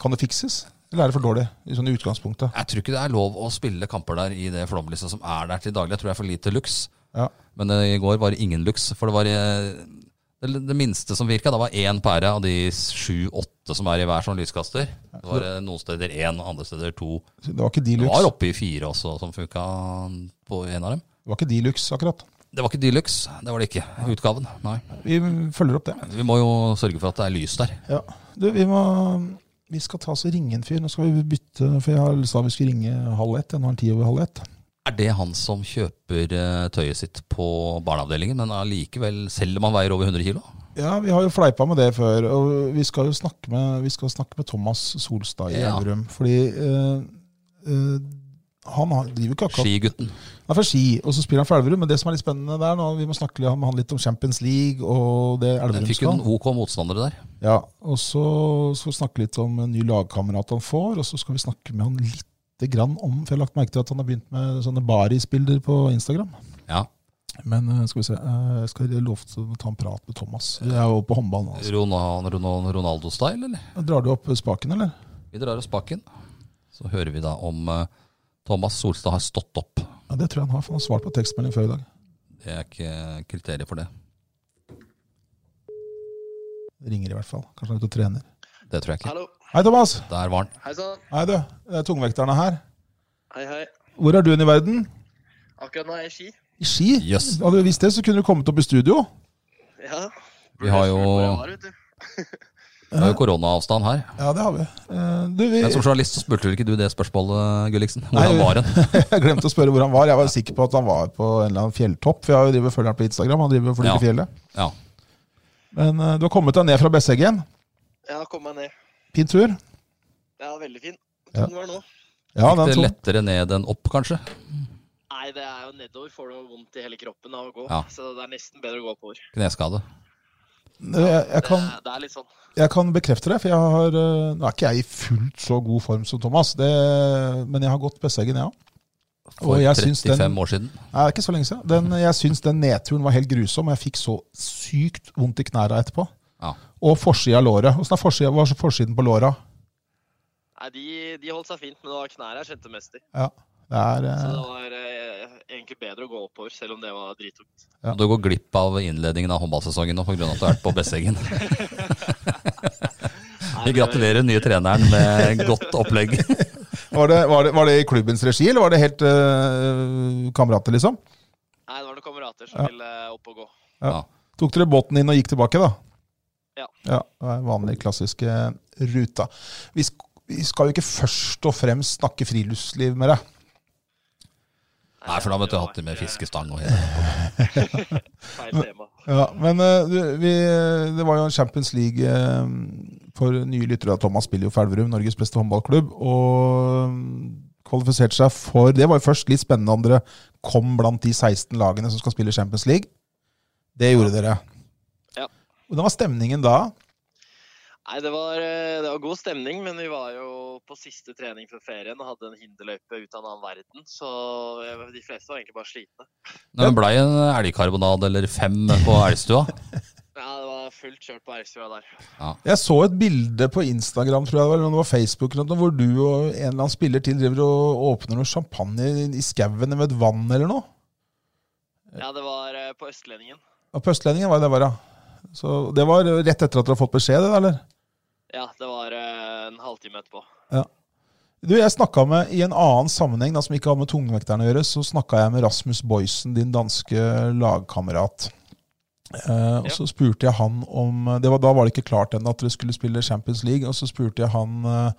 [SPEAKER 2] Kan det fikses? Eller er det for dårlig i sånne utgangspunktet?
[SPEAKER 1] Jeg tror ikke det er lov å spille kamper der i det flomlyset som er der til daglig. Jeg tror det er for lite lux.
[SPEAKER 2] Ja.
[SPEAKER 1] Men eh, i går var det ingen lux. For det var eh, det, det minste som virka, da var én pære av de sju-åtte som er i hver sånn lyskaster. Det var eh, noen steder én, andre steder to.
[SPEAKER 2] Så Det var ikke
[SPEAKER 1] Det
[SPEAKER 2] Dilux.
[SPEAKER 1] var oppe i fire også som funka på en av dem.
[SPEAKER 2] Det var ikke Dilux akkurat.
[SPEAKER 1] Det var ikke Dylux, det var det ikke. Utgaven, nei.
[SPEAKER 2] Vi følger opp det.
[SPEAKER 1] Vi må jo sørge for at det er lys der.
[SPEAKER 2] Ja. Du, vi må vi skal ta oss og ringe en fyr. Nå skal vi bytte, for jeg har- sa vi skulle ringe halv ett. Ja, Nå er den ti over halv ett.
[SPEAKER 1] Er det han som kjøper eh, tøyet sitt på barneavdelingen, men allikevel, selv om han veier over 100 kilo?
[SPEAKER 2] Ja, vi har jo fleipa med det før. Og vi skal jo snakke med, vi skal snakke med Thomas Solstad i
[SPEAKER 1] Ja.
[SPEAKER 2] Elverum. Fordi eh, eh, han har, driver ikke akkurat
[SPEAKER 1] Skigutten.
[SPEAKER 2] Han er fra Ski, og så spiller han for Elverum. Men det som er litt spennende der nå, vi må snakke litt om- med han litt om Champions League og det
[SPEAKER 1] Den
[SPEAKER 2] Elverum
[SPEAKER 1] fikk jo
[SPEAKER 2] skal.
[SPEAKER 1] en OK motstandere der.
[SPEAKER 2] Ja, og så skal vi snakke litt om en ny lagkamerat han får, og så skal vi snakke med han lite grann om For jeg har lagt merke til at han har begynt med sånne barisbilder på Instagram.
[SPEAKER 1] Ja.
[SPEAKER 2] Men eh, skal vi se eh, Jeg skal love til å ta en prat med Thomas. Vi er jo på håndball nå. Altså.
[SPEAKER 1] Ronal- Ronal- Ronaldo-style, eller?
[SPEAKER 2] Drar du opp spaken, eller?
[SPEAKER 1] Vi drar oss bakken. Så hører vi da om eh, Thomas Solstad har stått opp.
[SPEAKER 2] Ja, Det tror jeg han har, for han har svart på tekstmelding før i dag.
[SPEAKER 1] Det er ikke kriteriet for det.
[SPEAKER 2] Ringer i hvert fall. Kanskje han er ute og trener.
[SPEAKER 1] Det tror jeg ikke.
[SPEAKER 3] Hallo.
[SPEAKER 2] Hei, Thomas.
[SPEAKER 1] Der var han.
[SPEAKER 3] Hei sann.
[SPEAKER 2] Hei, du. Det er tungvekterne her.
[SPEAKER 3] Hei, hei.
[SPEAKER 2] Hvor er du hen i verden?
[SPEAKER 3] Akkurat nå er jeg i ski.
[SPEAKER 2] I ski?
[SPEAKER 1] Jøss.
[SPEAKER 2] Hadde du visst det, så kunne du kommet opp i studio.
[SPEAKER 3] Ja.
[SPEAKER 1] Vi har jo-
[SPEAKER 3] Burde spurt hvor jeg var, vet du.
[SPEAKER 1] Det er jo koronaavstand her.
[SPEAKER 2] Ja, det har vi. Eh, Du, vi
[SPEAKER 1] Men som journalist så spurte vel ikke du det spørsmålet, Gulliksen. Hvordan
[SPEAKER 2] Nei,
[SPEAKER 1] var den?
[SPEAKER 2] (laughs) jeg glemte å spørre hvor han var. Jeg var sikker på at han var på en eller annen fjelltopp. For jeg har jo drivet og følger ham på Instagram. Han driver og flyr
[SPEAKER 1] Ja.
[SPEAKER 2] til fjellet.
[SPEAKER 1] Ja.
[SPEAKER 2] Men eh, du har kommet deg ned fra Besseggen.
[SPEAKER 3] Jeg har kommet meg ned.
[SPEAKER 2] Fin tur.
[SPEAKER 3] Det er veldig fin.
[SPEAKER 2] Ja.
[SPEAKER 3] Tung var nå.
[SPEAKER 2] Ja,
[SPEAKER 1] Gikk
[SPEAKER 2] den
[SPEAKER 1] det
[SPEAKER 2] tung.
[SPEAKER 1] lettere ned enn opp, kanskje?
[SPEAKER 3] Nei, det er jo nedover. Får du vondt i hele kroppen av å gå.
[SPEAKER 1] Ja.
[SPEAKER 3] Så det er nesten bedre å gå oppover.
[SPEAKER 1] Kneskade.
[SPEAKER 2] Jeg, Eh, jeg,
[SPEAKER 3] Det,
[SPEAKER 2] kan,
[SPEAKER 3] er- det er litt sånn.
[SPEAKER 2] jeg kan bekrefte det, for jeg har eh, Nå er ikke jeg i fullt så god form som Thomas, det, men jeg har gått Besseggen, jeg ja.
[SPEAKER 1] For
[SPEAKER 2] Og jeg syns
[SPEAKER 1] 35
[SPEAKER 2] den-
[SPEAKER 1] år siden.
[SPEAKER 2] Nei, det er ikke så lenge siden. Den, jeg syns den nedturen var helt grusom, og jeg fikk så sykt vondt i knærne etterpå.
[SPEAKER 1] Ja.
[SPEAKER 2] Og forsida av låret. Åssen er forsida, hva er forsiden på låra?
[SPEAKER 3] Nei, de, de holdt seg fint, men det var knærne jeg kjente mest i.
[SPEAKER 2] Ja, det er eh,
[SPEAKER 3] Så det var eh, egentlig bedre å gå oppover, selv om det var drittungt.
[SPEAKER 2] Ja.
[SPEAKER 1] Du går glipp av innledningen av håndballsesongen nå pga. at du har vært på Besseggen. Vi gratulerer den nye treneren med godt opplegg.
[SPEAKER 2] var, det, var, det, var det i klubbens regi, eller var det helt eh, kamerater, liksom?
[SPEAKER 3] Nei, det var noen kamerater som
[SPEAKER 2] Ja.
[SPEAKER 3] ville eh, opp og gå.
[SPEAKER 2] Tok dere båten inn og gikk tilbake, da?
[SPEAKER 3] Ja.
[SPEAKER 2] ja det er vanlig klassiske ruta. Vi, sk vi skal jo ikke først og fremst snakke friluftsliv med deg.
[SPEAKER 1] Nei, for da måtte du hatt det med fiskestang og hele.
[SPEAKER 3] Feil tema.
[SPEAKER 2] Ja, men eh, du, vi, eh, det var jo en Champions League eh, for nye lyttere. Thomas spiller jo for Elverum, Norges beste håndballklubb. Og mm, kvalifiserte seg for Det var jo først litt spennende om dere kom blant de 16 lagene som skal spille Champions League. Det gjorde dere.
[SPEAKER 3] Ja.
[SPEAKER 2] Hvordan var stemningen da?
[SPEAKER 3] Nei, det var, eh, det var god stemning, men vi var jo på siste trening før ferien og hadde en hinderløype ut av en annen verden. Så jeg- de fleste var egentlig bare slitne.
[SPEAKER 1] Men blei en elgkarbonade eller fem på elgstua.
[SPEAKER 3] Ja, det var fullt kjørt på Elgstua der.
[SPEAKER 2] Jeg så et bilde på Instagram tror jeg det var, eller om det var Facebook, eller noe, hvor du og en eller annen spiller til driver og åpner noe champagne i- i skauen ved et vann eller noe.
[SPEAKER 3] Ja, det var eh, på Østlendingen.
[SPEAKER 2] Ja, på Østlendingen var det det var, ja. Så det var rett etter at dere har fått beskjed, det, da, eller?
[SPEAKER 3] Ja, det var eh, en halvtime etterpå.
[SPEAKER 2] Du, jeg snakka med, i en annen sammenheng da, som ikke har med tungvekterne å gjøre, så snakka jeg med Rasmus Boysen, din danske lagkamerat. Eh, og
[SPEAKER 3] Ja.
[SPEAKER 2] så spurte jeg han om eh, det var, Da var det ikke klart ennå at dere skulle spille Champions League. Og så spurte jeg han eh,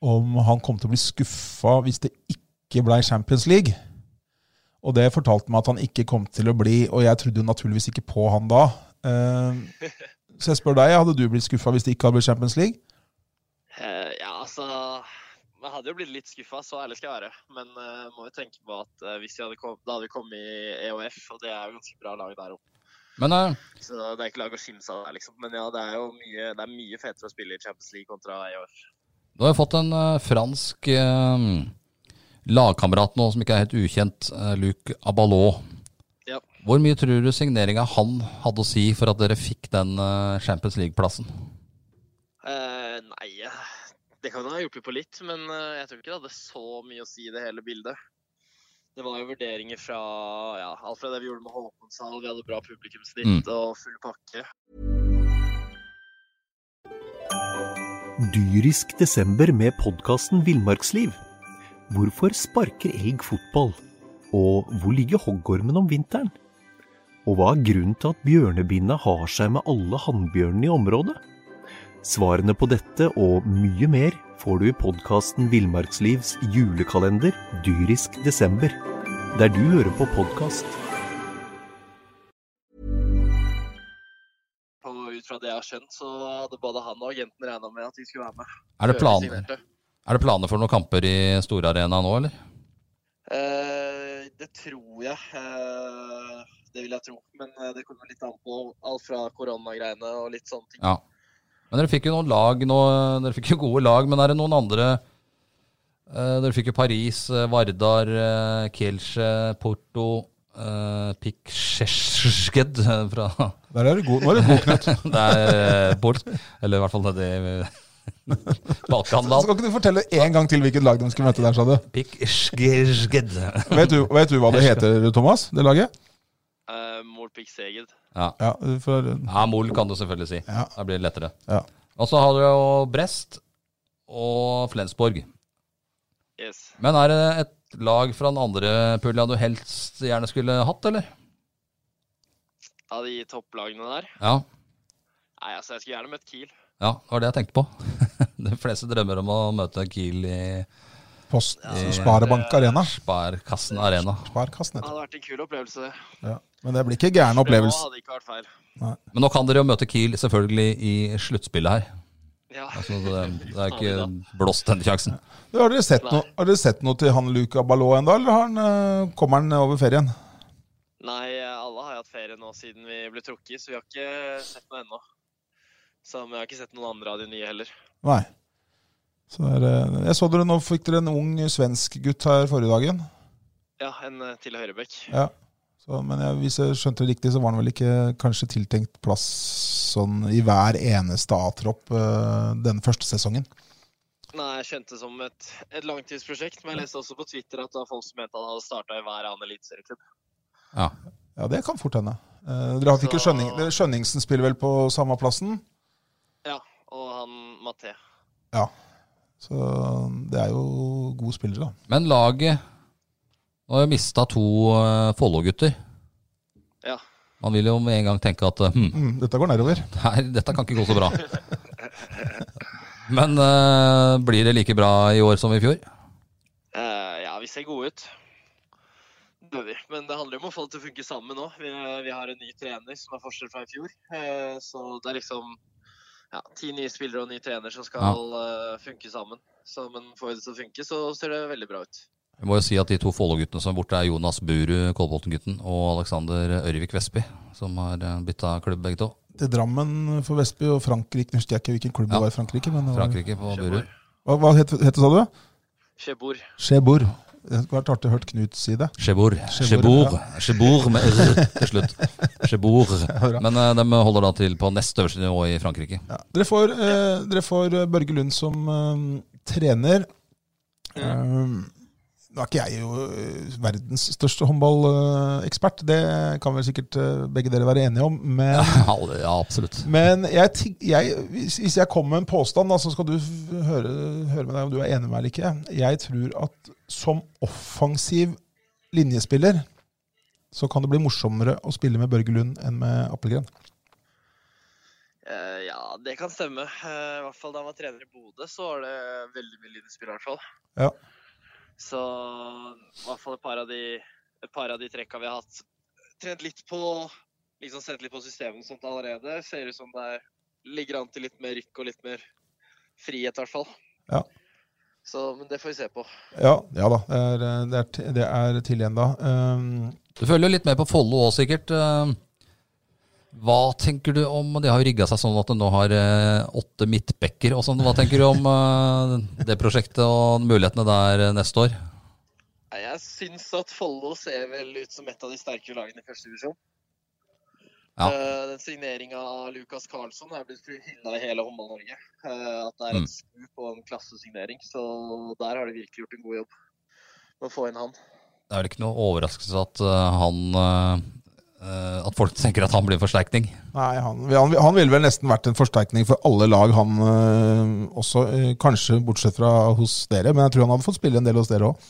[SPEAKER 2] om han kom til å bli skuffa hvis det ikke blei Champions League. Og det fortalte meg at han ikke kom til å bli, og jeg trodde jo naturligvis ikke på han da. Eh, så jeg spør deg, hadde du blitt skuffa hvis det ikke hadde blitt Champions League?
[SPEAKER 3] Eh, ja, altså Jeg hadde jo blitt litt skuffa, så ærlig skal jeg være. Men eh, må jo tenke på at eh, hvis vi hadde kom, da hadde vi kommet i EOF, og det er jo ganske bra lag der oppe.
[SPEAKER 1] Men eh,
[SPEAKER 3] Så det er ikke lag å skimse av der, liksom. Men ja, det er jo mye, det er mye fetere å spille i Champions League kontra E EOF.
[SPEAKER 1] du har jo fått en eh, fransk eh, lagkamerat nå som ikke er helt ukjent, eh, Luc Abalot.
[SPEAKER 3] Ja.
[SPEAKER 1] Hvor mye tror du signeringa han hadde å si for at dere fikk den eh, Champions League-plassen?
[SPEAKER 3] Eh, nei, eh, det kan ha hjulpet på litt, men eh, jeg tror ikke det hadde så mye å si i det hele bildet. Det var jo vurderinger fra ja, alt fra det vi gjorde med Håkonshall, vi hadde bra
[SPEAKER 1] Mm.
[SPEAKER 3] publikumsnitt og full pakke.
[SPEAKER 4] Dyrisk desember med podkasten Villmarksliv. Hvorfor sparker elg fotball? Og hvor ligger hoggormen om vinteren? Og hva er grunnen til at bjørnebinna har seg med alle hannbjørnene i området? Svarene på dette og mye mer får du i podkasten Villmarkslivs julekalender Dyrisk desember, der du hører på podkast.
[SPEAKER 3] Og ut fra det jeg har skjønt, så hadde både han og agenten regna med at de skulle være med.
[SPEAKER 1] Er det,
[SPEAKER 3] før vi
[SPEAKER 1] planer,
[SPEAKER 3] signerte.
[SPEAKER 1] er det planer for noen kamper i storarena nå, eller?
[SPEAKER 3] Eh, det tror jeg. eh, det vil jeg tro. Men eh, det kommer litt an på alt fra koronagreiene og litt sånne ting.
[SPEAKER 1] Ja. Men dere fikk jo noen lag nå, dere fikk jo gode lag, men er det noen andre eh, Dere fikk jo Paris, eh, Vardar, eh, Kielce, Porto eh, Pikskjesked eh, fra (laughs)
[SPEAKER 2] Der er du god. Nå er du god, Knut.
[SPEAKER 1] Det er eh, Port, eller i (laughs) hvert fall det Balkanland.
[SPEAKER 2] Skal ikke du fortelle en gang til hvilket lag de skulle møte der, sa du?
[SPEAKER 1] Pikskjesked.
[SPEAKER 2] Vet du, vet du hva det heter, Thomas? Det laget?
[SPEAKER 3] Eh, Molpik Seged.
[SPEAKER 1] Ja.
[SPEAKER 2] Ja, for, eh,
[SPEAKER 1] ja, Mol kan du selvfølgelig si.
[SPEAKER 2] Ja.
[SPEAKER 1] Da blir det lettere.
[SPEAKER 2] ja.
[SPEAKER 1] Og så har dere jo Brest og Flensborg.
[SPEAKER 3] Yes.
[SPEAKER 1] Men er det et lag fra den andre pulja du helst gjerne skulle hatt, eller?
[SPEAKER 3] Av de topplagene der?
[SPEAKER 1] Ja,
[SPEAKER 3] Nei, altså, jeg skulle gjerne møtt Kiel.
[SPEAKER 1] ja det var det jeg tenkte på. (laughs) De fleste drømmer om å møte Kiel i
[SPEAKER 2] Post,
[SPEAKER 1] Ja.
[SPEAKER 2] Sparebank Arena.
[SPEAKER 1] Sparkassen Arena.
[SPEAKER 2] Sparkassen
[SPEAKER 3] Det
[SPEAKER 2] heter det.
[SPEAKER 3] hadde vært en kul opplevelse, det.
[SPEAKER 2] Ja. Men det blir ikke gæren
[SPEAKER 3] Det
[SPEAKER 2] opplevelse.
[SPEAKER 3] hadde ikke vært feil.
[SPEAKER 1] Men nå kan dere jo møte Kiel selvfølgelig i sluttspillet her.
[SPEAKER 3] Ja.
[SPEAKER 1] Altså, det, det er ikke blåst denne sjansen.
[SPEAKER 2] Du, Har dere sett noe, har dere sett noe til han Luca Ballot ennå, eller har han, eh, kommer han over ferien?
[SPEAKER 3] Nei, alle har jo hatt ferie nå siden vi ble trukket, så vi har ikke sett noe ennå. Så men jeg har ikke sett noen andre av de nye heller.
[SPEAKER 2] Nei. Så er, det- jeg så dere nå fikk dere en ung svensk gutt her forrige dagen.
[SPEAKER 3] Ja, en eh, til Høyrebekk.
[SPEAKER 2] Ja. Så, men jeg, hvis jeg skjønte det riktig, så var han vel ikke kanskje tiltenkt plass sånn i hver eneste A-tropp eh, den første sesongen.
[SPEAKER 3] Nei, jeg skjønte det som et, et langtidsprosjekt, men jeg leste også på Twitter at det var folk som mente han hadde starta i hver annen eliteserieklubb.
[SPEAKER 1] Ja.
[SPEAKER 2] Ja, det kan fort hende. Eh, dere har fikk jo
[SPEAKER 3] Så-
[SPEAKER 2] Skjønning, dere- Skjønningsen spiller vel på samme plassen?
[SPEAKER 3] Ja, og han Maté.
[SPEAKER 2] Så det er jo gode spillere, da.
[SPEAKER 1] Men laget Nå har jeg mista to eh, Follo-gutter.
[SPEAKER 3] Ja.
[SPEAKER 1] Man vil jo med en gang tenke at eh, hm,
[SPEAKER 2] Mm, dette går nedover.
[SPEAKER 1] det her, dette kan ikke gå så bra. Men eh, blir det like bra i år som i fjor?
[SPEAKER 3] Eh, ja, vi ser gode ut. Det gjør vi. Men det handler jo om å få det til å funke sammen nå. Vi, vi har en ny trener som er forskjell fra i fjor. Eh, så det er liksom ja, ti nye spillere og ny trener som skal eh, funke sammen. Så, men får vi det til å funke, så ser det veldig bra ut.
[SPEAKER 1] Jeg må jo si at de to Follo-guttene som er borte, er Jonas Buru, Kolbotn-gutten, og Alexander Ørvik Vestby, som har bytta klubb begge to.
[SPEAKER 2] Til Drammen for Vestby og Frankrike. Nå husker jeg ikke hvilken klubb
[SPEAKER 1] Ja.
[SPEAKER 2] det var i Frankrike. Men det var,
[SPEAKER 1] Frankrike på Buru.
[SPEAKER 2] Hva, hva het, het det, sa du?
[SPEAKER 3] Kjebor.
[SPEAKER 2] Chebor. Det hadde vært artig å høre Knut si det.
[SPEAKER 1] Chebour.
[SPEAKER 2] Chebour,
[SPEAKER 1] Chebour. Chebour med r til slutt. Chebour. Men eh, de holder da til på nest øverste nivå i Frankrike. (laughs)
[SPEAKER 2] Ja. Dere, får, eh, dere får eh, Børge Lund som eh, trener. Eh, nå er ikke jeg jo eh, verdens største håndballekspert, det kan vel sikkert eh, begge dere være enige om. Men,
[SPEAKER 1] Ja, det- ja, absolutt.
[SPEAKER 2] men jeg, ti- jeg, hvis, hvis jeg kommer med en påstand, da, så skal du f- høre, høre med deg om du er enig med meg eller ikke. Jeg tror at som offensiv linjespiller så kan det bli morsommere å spille med Børge Lund enn med Appelgren.
[SPEAKER 3] Eh, ja, det kan stemme. Eh, I hvert fall da han var trener i Bodø, så var det veldig mye linjespill, i hvert fall.
[SPEAKER 2] Ja.
[SPEAKER 3] Så i hvert fall et par av de, et par av de trekka vi har hatt, trent litt på liksom sett litt på systemet og sånt allerede. Ser ut som det er, ligger an til litt mer rykk og litt mer frihet, i hvert fall.
[SPEAKER 2] Ja.
[SPEAKER 3] Så, men det får vi se på.
[SPEAKER 2] Ja, ja da, det er, eh, det er, ti- det er til igjen da. Ehm,
[SPEAKER 1] Du følger jo litt med på Follo òg, sikkert. Eh, Hva tenker du om De har jo rigga seg sånn at de nå har eh, åtte midtbekker og sånn. Hva tenker du om eh, det prosjektet og mulighetene der eh, neste år?
[SPEAKER 3] Nei, Jeg syns at Follo ser vel ut som et av de sterkere lagene i første divisjon.
[SPEAKER 1] Ja.
[SPEAKER 3] Eh, den Signeringa av Lukas Karlsson er blitt hylla i hele Håndball-Norge. Eh, at det er
[SPEAKER 1] Mm.
[SPEAKER 3] et skup og en klassesignering. Så der har de virkelig gjort en god jobb med å få inn han.
[SPEAKER 1] Det er vel ikke noe overraskelse at eh, han eh, eh, At folk tenker at han blir en forsterkning.
[SPEAKER 2] nei, han, han, han ville vel nesten vært en forsterkning for alle lag, han eh, også. eh, kanskje bortsett fra hos dere, men jeg tror han hadde fått spille en del hos dere òg.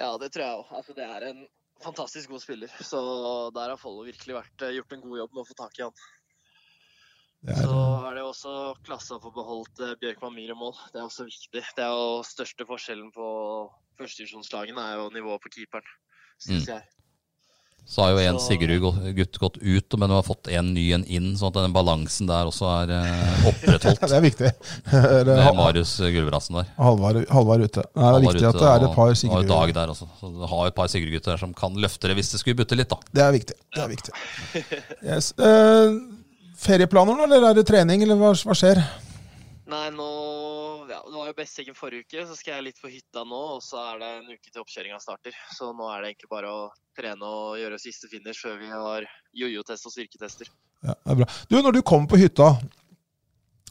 [SPEAKER 3] Ja, det tror jeg òg. Altså, det er en fantastisk god spiller. Så der har Follo virkelig vært, eh, gjort en god jobb med å få tak i han. Så er det jo også klassa for beholdt eh, Bjørkman Myhre mål. Det er også viktig. Det er jo største forskjellen på førstedivisjonslagene er jo nivået på keeperen, syns jeg.
[SPEAKER 1] Så har jo en
[SPEAKER 3] Så-
[SPEAKER 1] Sigurd-gutt gått ut, men du har fått en ny en inn, sånn at den balansen der også er eh, opprettholdt.
[SPEAKER 2] (laughs) Det er viktig. eh, Det
[SPEAKER 1] Med
[SPEAKER 2] er Hal-
[SPEAKER 1] Marius Gulbrandsen der.
[SPEAKER 2] Halvard Halvard ute. Nei, det er
[SPEAKER 1] Han var
[SPEAKER 2] viktig at
[SPEAKER 1] ute,
[SPEAKER 2] det er et
[SPEAKER 1] og-
[SPEAKER 2] par
[SPEAKER 1] og
[SPEAKER 2] Sigurd...
[SPEAKER 1] Dag der også. Så du har et par Sigurd-gutter der som kan løfte det hvis det skulle butte litt, da.
[SPEAKER 2] Det er viktig. Det er viktig. Yes. Eh, ferieplaner nå, eller er det trening, eller hva, hva skjer?
[SPEAKER 3] Nei, nå ja, Det var jo Besseggen forrige uke, så skal jeg litt på hytta nå. Og så er det en uke til oppkjøringa starter. Så nå er det egentlig bare å trene og gjøre siste finish før vi har jojo-test og styrketester.
[SPEAKER 2] Ja, det er bra. Du, når du kommer på hytta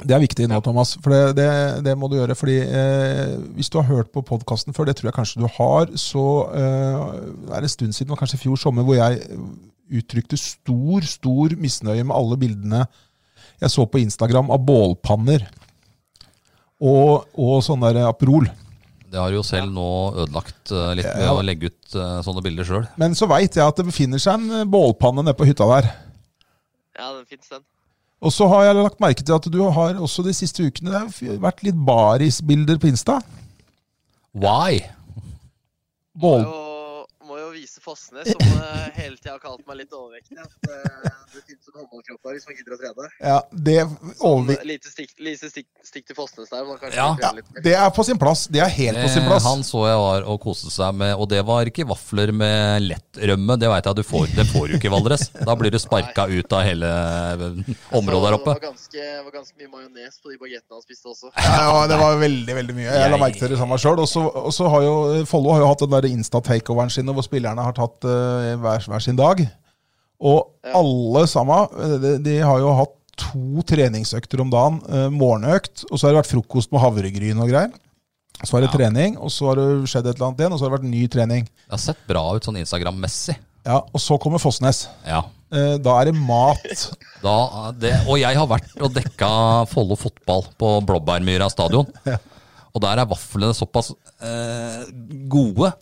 [SPEAKER 2] Det er viktig nå,
[SPEAKER 3] Ja.
[SPEAKER 2] Thomas, for det, det, det må du gjøre. fordi eh, Hvis du har hørt på podkasten før, det tror jeg kanskje du har, så eh, er det en stund siden, det var kanskje i fjor sommer, hvor jeg uttrykte stor, stor misnøye med alle bildene jeg så på Instagram av bålpanner og, og sånn der Aperol.
[SPEAKER 1] Det har jo selv nå ødelagt eh, litt med
[SPEAKER 2] Ja.
[SPEAKER 1] å legge ut eh, sånne bilder sjøl.
[SPEAKER 2] Men så veit jeg at det befinner seg en eh, bålpanne nede på hytta der.
[SPEAKER 3] Ja, den fins, den.
[SPEAKER 2] Og så har jeg lagt merke til at du har også de siste ukene det har vært litt barisbilder på Insta.
[SPEAKER 1] Why?
[SPEAKER 3] Må
[SPEAKER 2] Bål,
[SPEAKER 3] jo, må jo vise Fossnes, som eh, hele tida har kalt meg litt overvektig, at eh, det fins en håndballkropp der hvis man gidder å trene.
[SPEAKER 2] ja, det, overvi-
[SPEAKER 3] Sånn, eh, Lite stikk, lite stikk, stikk til Fossnes der. Man kanskje
[SPEAKER 1] Ja.
[SPEAKER 3] kan trene litt.
[SPEAKER 2] det er på sin plass. Det er helt på sin
[SPEAKER 1] Eh,
[SPEAKER 2] plass.
[SPEAKER 1] Han så jeg var og koste seg med, og det var ikke vafler med lettrømme. Det veit jeg du får, det får du ikke i Valdres. Da blir du sparka ut av hele eh, området der oppe.
[SPEAKER 3] Det var ganske, det var ganske mye majones på de bagettene han spiste også.
[SPEAKER 2] Ja, ja, det var veldig veldig mye. Jeg la merke til det samme sjøl. Og så- og så har jo Follo har jo hatt den der Insta-takeoveren sin, hvor spillerne har tatt eh, hver, hver sin dag. Og
[SPEAKER 3] Ja.
[SPEAKER 2] alle sammen, eh, de, de har jo hatt to treningsøkter om dagen. eh, morgenøkt, og så har det vært frokost med havregryn og greier. Så har det trening, og så har det skjedd et eller annet igjen, og så har det vært ny trening.
[SPEAKER 1] Det har sett bra ut sånn Instagram-messig.
[SPEAKER 2] Ja, Og så kommer Fossnes.
[SPEAKER 1] Ja.
[SPEAKER 2] Eh, da er det (laughs) mat.
[SPEAKER 1] Da, det, og jeg har vært og dekka Follo fotball på Blåbærmyra stadion. Og der er vaflene såpass eh, gode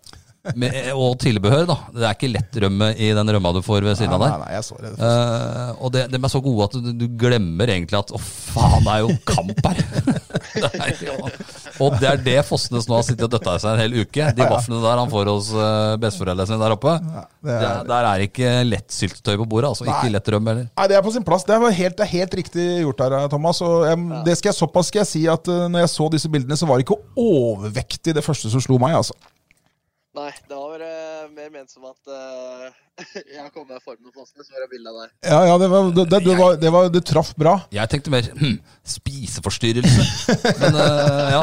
[SPEAKER 1] med, og tilbehør, da. Det er ikke lettrømme i den rømma du får ved siden av
[SPEAKER 2] nei,
[SPEAKER 1] der.
[SPEAKER 2] nei, jeg så det.
[SPEAKER 1] Eh, og det, de er så gode at du, du glemmer egentlig at å faen, det er jo kamp her. (laughs) det er jo, og det er det Fossnes nå har sittet og døtta i seg en hel uke. De vaflene der han får hos uh, besteforeldrene sine der oppe.
[SPEAKER 2] det er-
[SPEAKER 1] der, der er ikke lett syltetøy på bordet, altså.
[SPEAKER 2] Nei.
[SPEAKER 1] Ikke lett rømme heller.
[SPEAKER 2] Nei, Det er på sin plass. Det er helt, det er helt riktig gjort der, Thomas. Og em, det skal jeg, såpass skal jeg si at eh, når jeg så disse bildene, så var det ikke overvektig det første som slo meg. altså.
[SPEAKER 3] Nei, det var eh, mer ment som at eh, (laughs) jeg har kommet meg i formen hos Fossnes, så var det bilde av deg.
[SPEAKER 2] Ja, ja, Det, var, det, det, det, var, det, var, det traff bra.
[SPEAKER 1] Jeg tenkte mer hm, spiseforstyrrelse. Men eh, ja.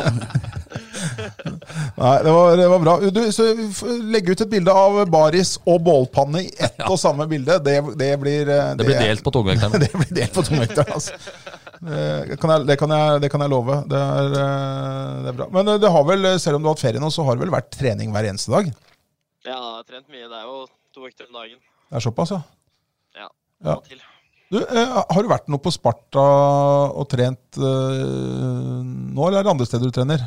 [SPEAKER 2] Nei, det var, det var bra. Du, så f- Legge ut et bilde av baris og bålpanne i (laughs) ett og samme bilde, det, (laughs) det blir eh,
[SPEAKER 1] Det blir delt på tungvekteren.
[SPEAKER 2] det blir delt på tungvekteren, altså. Det kan, jeg, det, kan jeg, det kan jeg love. Det er, eh, det er bra. Men eh, det har vel, eh, selv om du har hatt ferie nå, så har det vel vært trening hver eneste dag?
[SPEAKER 3] Ja, jeg har trent mye. Det er jo to økter om dagen.
[SPEAKER 2] Det er såpass, ja.
[SPEAKER 3] Ja.
[SPEAKER 2] Ja.
[SPEAKER 3] av og Til.
[SPEAKER 2] Du, eh, har du vært noe på Sparta og trent eh, nå, eller er det andre steder du trener?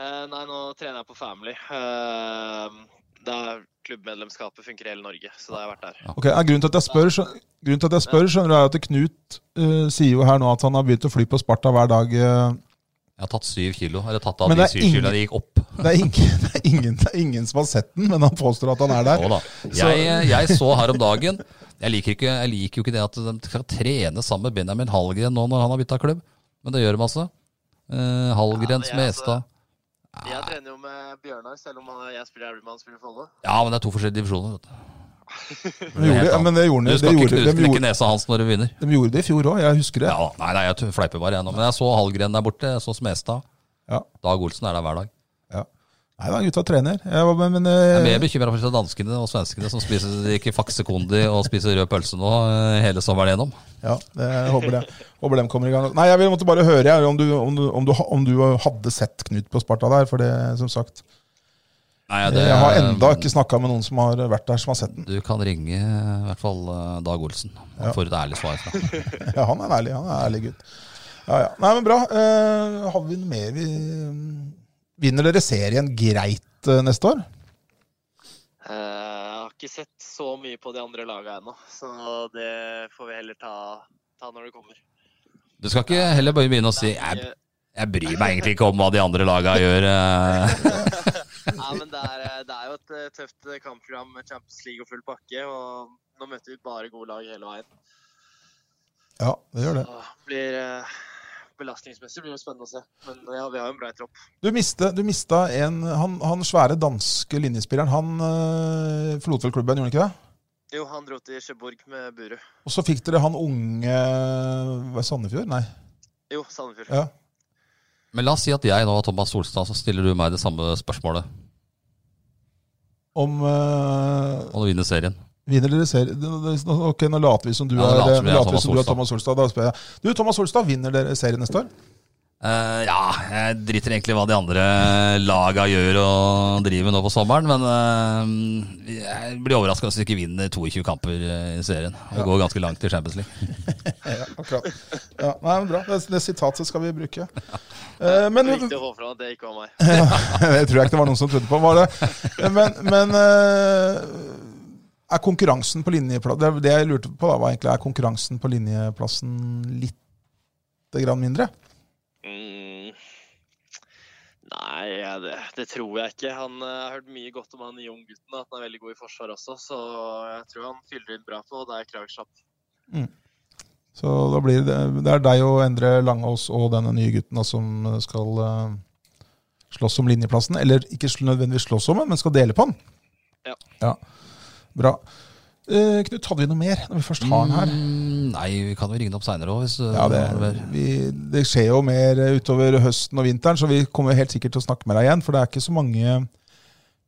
[SPEAKER 3] Eh, nei, nå trener jeg på Family. Eh, det er Klubbmedlemskapet funker i hele Norge, så da har jeg vært der.
[SPEAKER 2] Ok, ja, grunnen, til at jeg spør, skjø- grunnen til at jeg spør, skjønner du, er at Knut eh, sier jo her nå at han har begynt å fly på Sparta hver dag. eh.
[SPEAKER 1] Jeg har tatt syv kilo. Eller tatt av
[SPEAKER 2] Men
[SPEAKER 1] de
[SPEAKER 2] det er
[SPEAKER 1] syv kiloene
[SPEAKER 2] ingen-
[SPEAKER 1] de gikk opp.
[SPEAKER 2] Det er, ingen, (laughs) det, er ingen, det er ingen som har sett den, men han påstår at han er der.
[SPEAKER 1] Jo da. Jeg, jeg så her om dagen jeg liker, ikke, jeg liker jo ikke det at de skal trene sammen med Benjamin Hallgren nå når han har bytta klubb, men det gjør masse. Eh, Hallgren,
[SPEAKER 3] Ja, men jeg, altså-
[SPEAKER 1] Smestad Ah.
[SPEAKER 3] Jeg trener jo med Bjørnar, selv om han- jeg spiller Elverum og han spiller Follo.
[SPEAKER 1] Ja, men det er to forskjellige divisjoner. Vet du.
[SPEAKER 2] Men gjorde, ja, men det gjorde,
[SPEAKER 1] Du
[SPEAKER 2] han-
[SPEAKER 1] skal
[SPEAKER 2] det
[SPEAKER 1] ikke
[SPEAKER 2] gjorde,
[SPEAKER 1] knuse
[SPEAKER 2] de,
[SPEAKER 1] knekke
[SPEAKER 2] gjorde,
[SPEAKER 1] nesa hans når du vinner.
[SPEAKER 2] de gjorde det i fjor òg, jeg husker det.
[SPEAKER 1] Ja, nei, nei, jeg fleiper bare, jeg nå. Men jeg så Hallgren der borte, jeg så Smestad.
[SPEAKER 2] Ja.
[SPEAKER 1] Dag Olsen er der hver dag.
[SPEAKER 2] Ja. Nei da, gutta trener. Jeg, var- men, men, eh,
[SPEAKER 1] Jeg er mer bekymra for disse danskene og svenskene som spiser ikke fakse kondi og spiser rød pølse nå eh, hele sommeren gjennom.
[SPEAKER 2] Ja, det, jeg håper det. Håper de kommer i gang. Nei, jeg vil- måtte bare høre jeg, om, du, om, du, om, du, ha- om du hadde sett Knut på Sparta der. For det, som sagt,
[SPEAKER 1] Nei,
[SPEAKER 2] jeg har enda ikke snakka med noen som har vært der, som har sett den. (laughs)
[SPEAKER 1] Du kan ringe i hvert fall eh, Dag Olsen. Han får et ærlig svar fra ham.
[SPEAKER 2] Ja, han er en ærlig, han er en ærlig gutt. Ja, ja. Nei, men bra. Eh, har vi noe mer vi Vinner dere serien greit eh, neste år?
[SPEAKER 3] Eh, jeg har ikke sett så mye på de andre laga ennå, så det får vi heller ta, ta når det kommer.
[SPEAKER 1] Du skal ikke heller bare begynne å si jeg,
[SPEAKER 3] Ikke-
[SPEAKER 1] jeg bryr meg egentlig ikke om hva de andre laga gjør. eh.
[SPEAKER 3] Nei, men det er, det er jo et eh, tøft eh, kampprogram med Champions League og full pakke. Og nå møter vi bare gode lag hele veien.
[SPEAKER 2] Ja, det gjør det.
[SPEAKER 3] Så blir eh, belastningsmessig blir det spennende å se. Men eh, ja, vi har jo en brei tropp.
[SPEAKER 2] Du, miste, du mista en Han, han svære danske linjespilleren, han eh, forlot vel klubben, gjorde han ikke det?
[SPEAKER 3] Jo, han dro til Skjeborg med Buru.
[SPEAKER 2] Og så fikk dere han unge var det Sandefjord? Nei.
[SPEAKER 3] Jo, Sandefjord.
[SPEAKER 2] Ja.
[SPEAKER 1] Men la oss si at jeg nå, Thomas Solstad, så stiller du meg det samme spørsmålet.
[SPEAKER 2] Om eh,
[SPEAKER 1] Og du vinner serien.
[SPEAKER 2] Vinner dere serien Ok, nå later vi som du
[SPEAKER 1] Ja, nå
[SPEAKER 2] er,
[SPEAKER 1] later vi
[SPEAKER 2] nå
[SPEAKER 1] er
[SPEAKER 2] later vi
[SPEAKER 1] Thomas
[SPEAKER 2] som du er
[SPEAKER 1] Solstad.
[SPEAKER 2] Thomas Solstad. Da spør jeg. Du, Thomas Solstad, vinner dere serien neste år?
[SPEAKER 1] Eh, Eh, ja, jeg driter egentlig hva de andre laga gjør og driver med nå på sommeren, men eh, jeg blir overraska hvis vi ikke vinner 22 kamper eh, i serien. Og går ganske langt i Champions League.
[SPEAKER 2] Ja, akkurat. (laughs) Ja, nei, men bra. Det, det sitatet skal vi bruke. Eh, men
[SPEAKER 3] Det er viktig å få fram at det ikke var meg.
[SPEAKER 2] (laughs) Jeg tror jeg ikke det var noen som trodde på var det. Men, men eh, er konkurransen på linjeplass Det, det jeg lurte på, da, var egentlig er konkurransen på linjeplassen litt grann mindre?
[SPEAKER 3] Mm. Nei, jeg- det, det tror jeg ikke. Han, eh, jeg har hørt mye godt om han nye unggutten, at han er veldig god i forsvar også, så jeg tror han fyller inn bra på, og det er Kragerskjapp.
[SPEAKER 2] Så da blir det, det er deg og Endre Langås og denne nye gutten da, som skal eh, slåss om linjeplassen. Eller ikke sl- nødvendigvis slåss om den, men skal dele på den.
[SPEAKER 3] Ja.
[SPEAKER 2] Bra. Eh, Knut, hadde vi noe mer når vi først har den her?
[SPEAKER 1] Mm, nei, vi kan jo ringe den opp seinere òg, hvis eh,
[SPEAKER 2] Ja,
[SPEAKER 1] har
[SPEAKER 2] det,
[SPEAKER 1] mer.
[SPEAKER 2] vi, det skjer jo mer eh, utover høsten og vinteren, så vi kommer helt sikkert til å snakke med deg igjen. For det er ikke så mange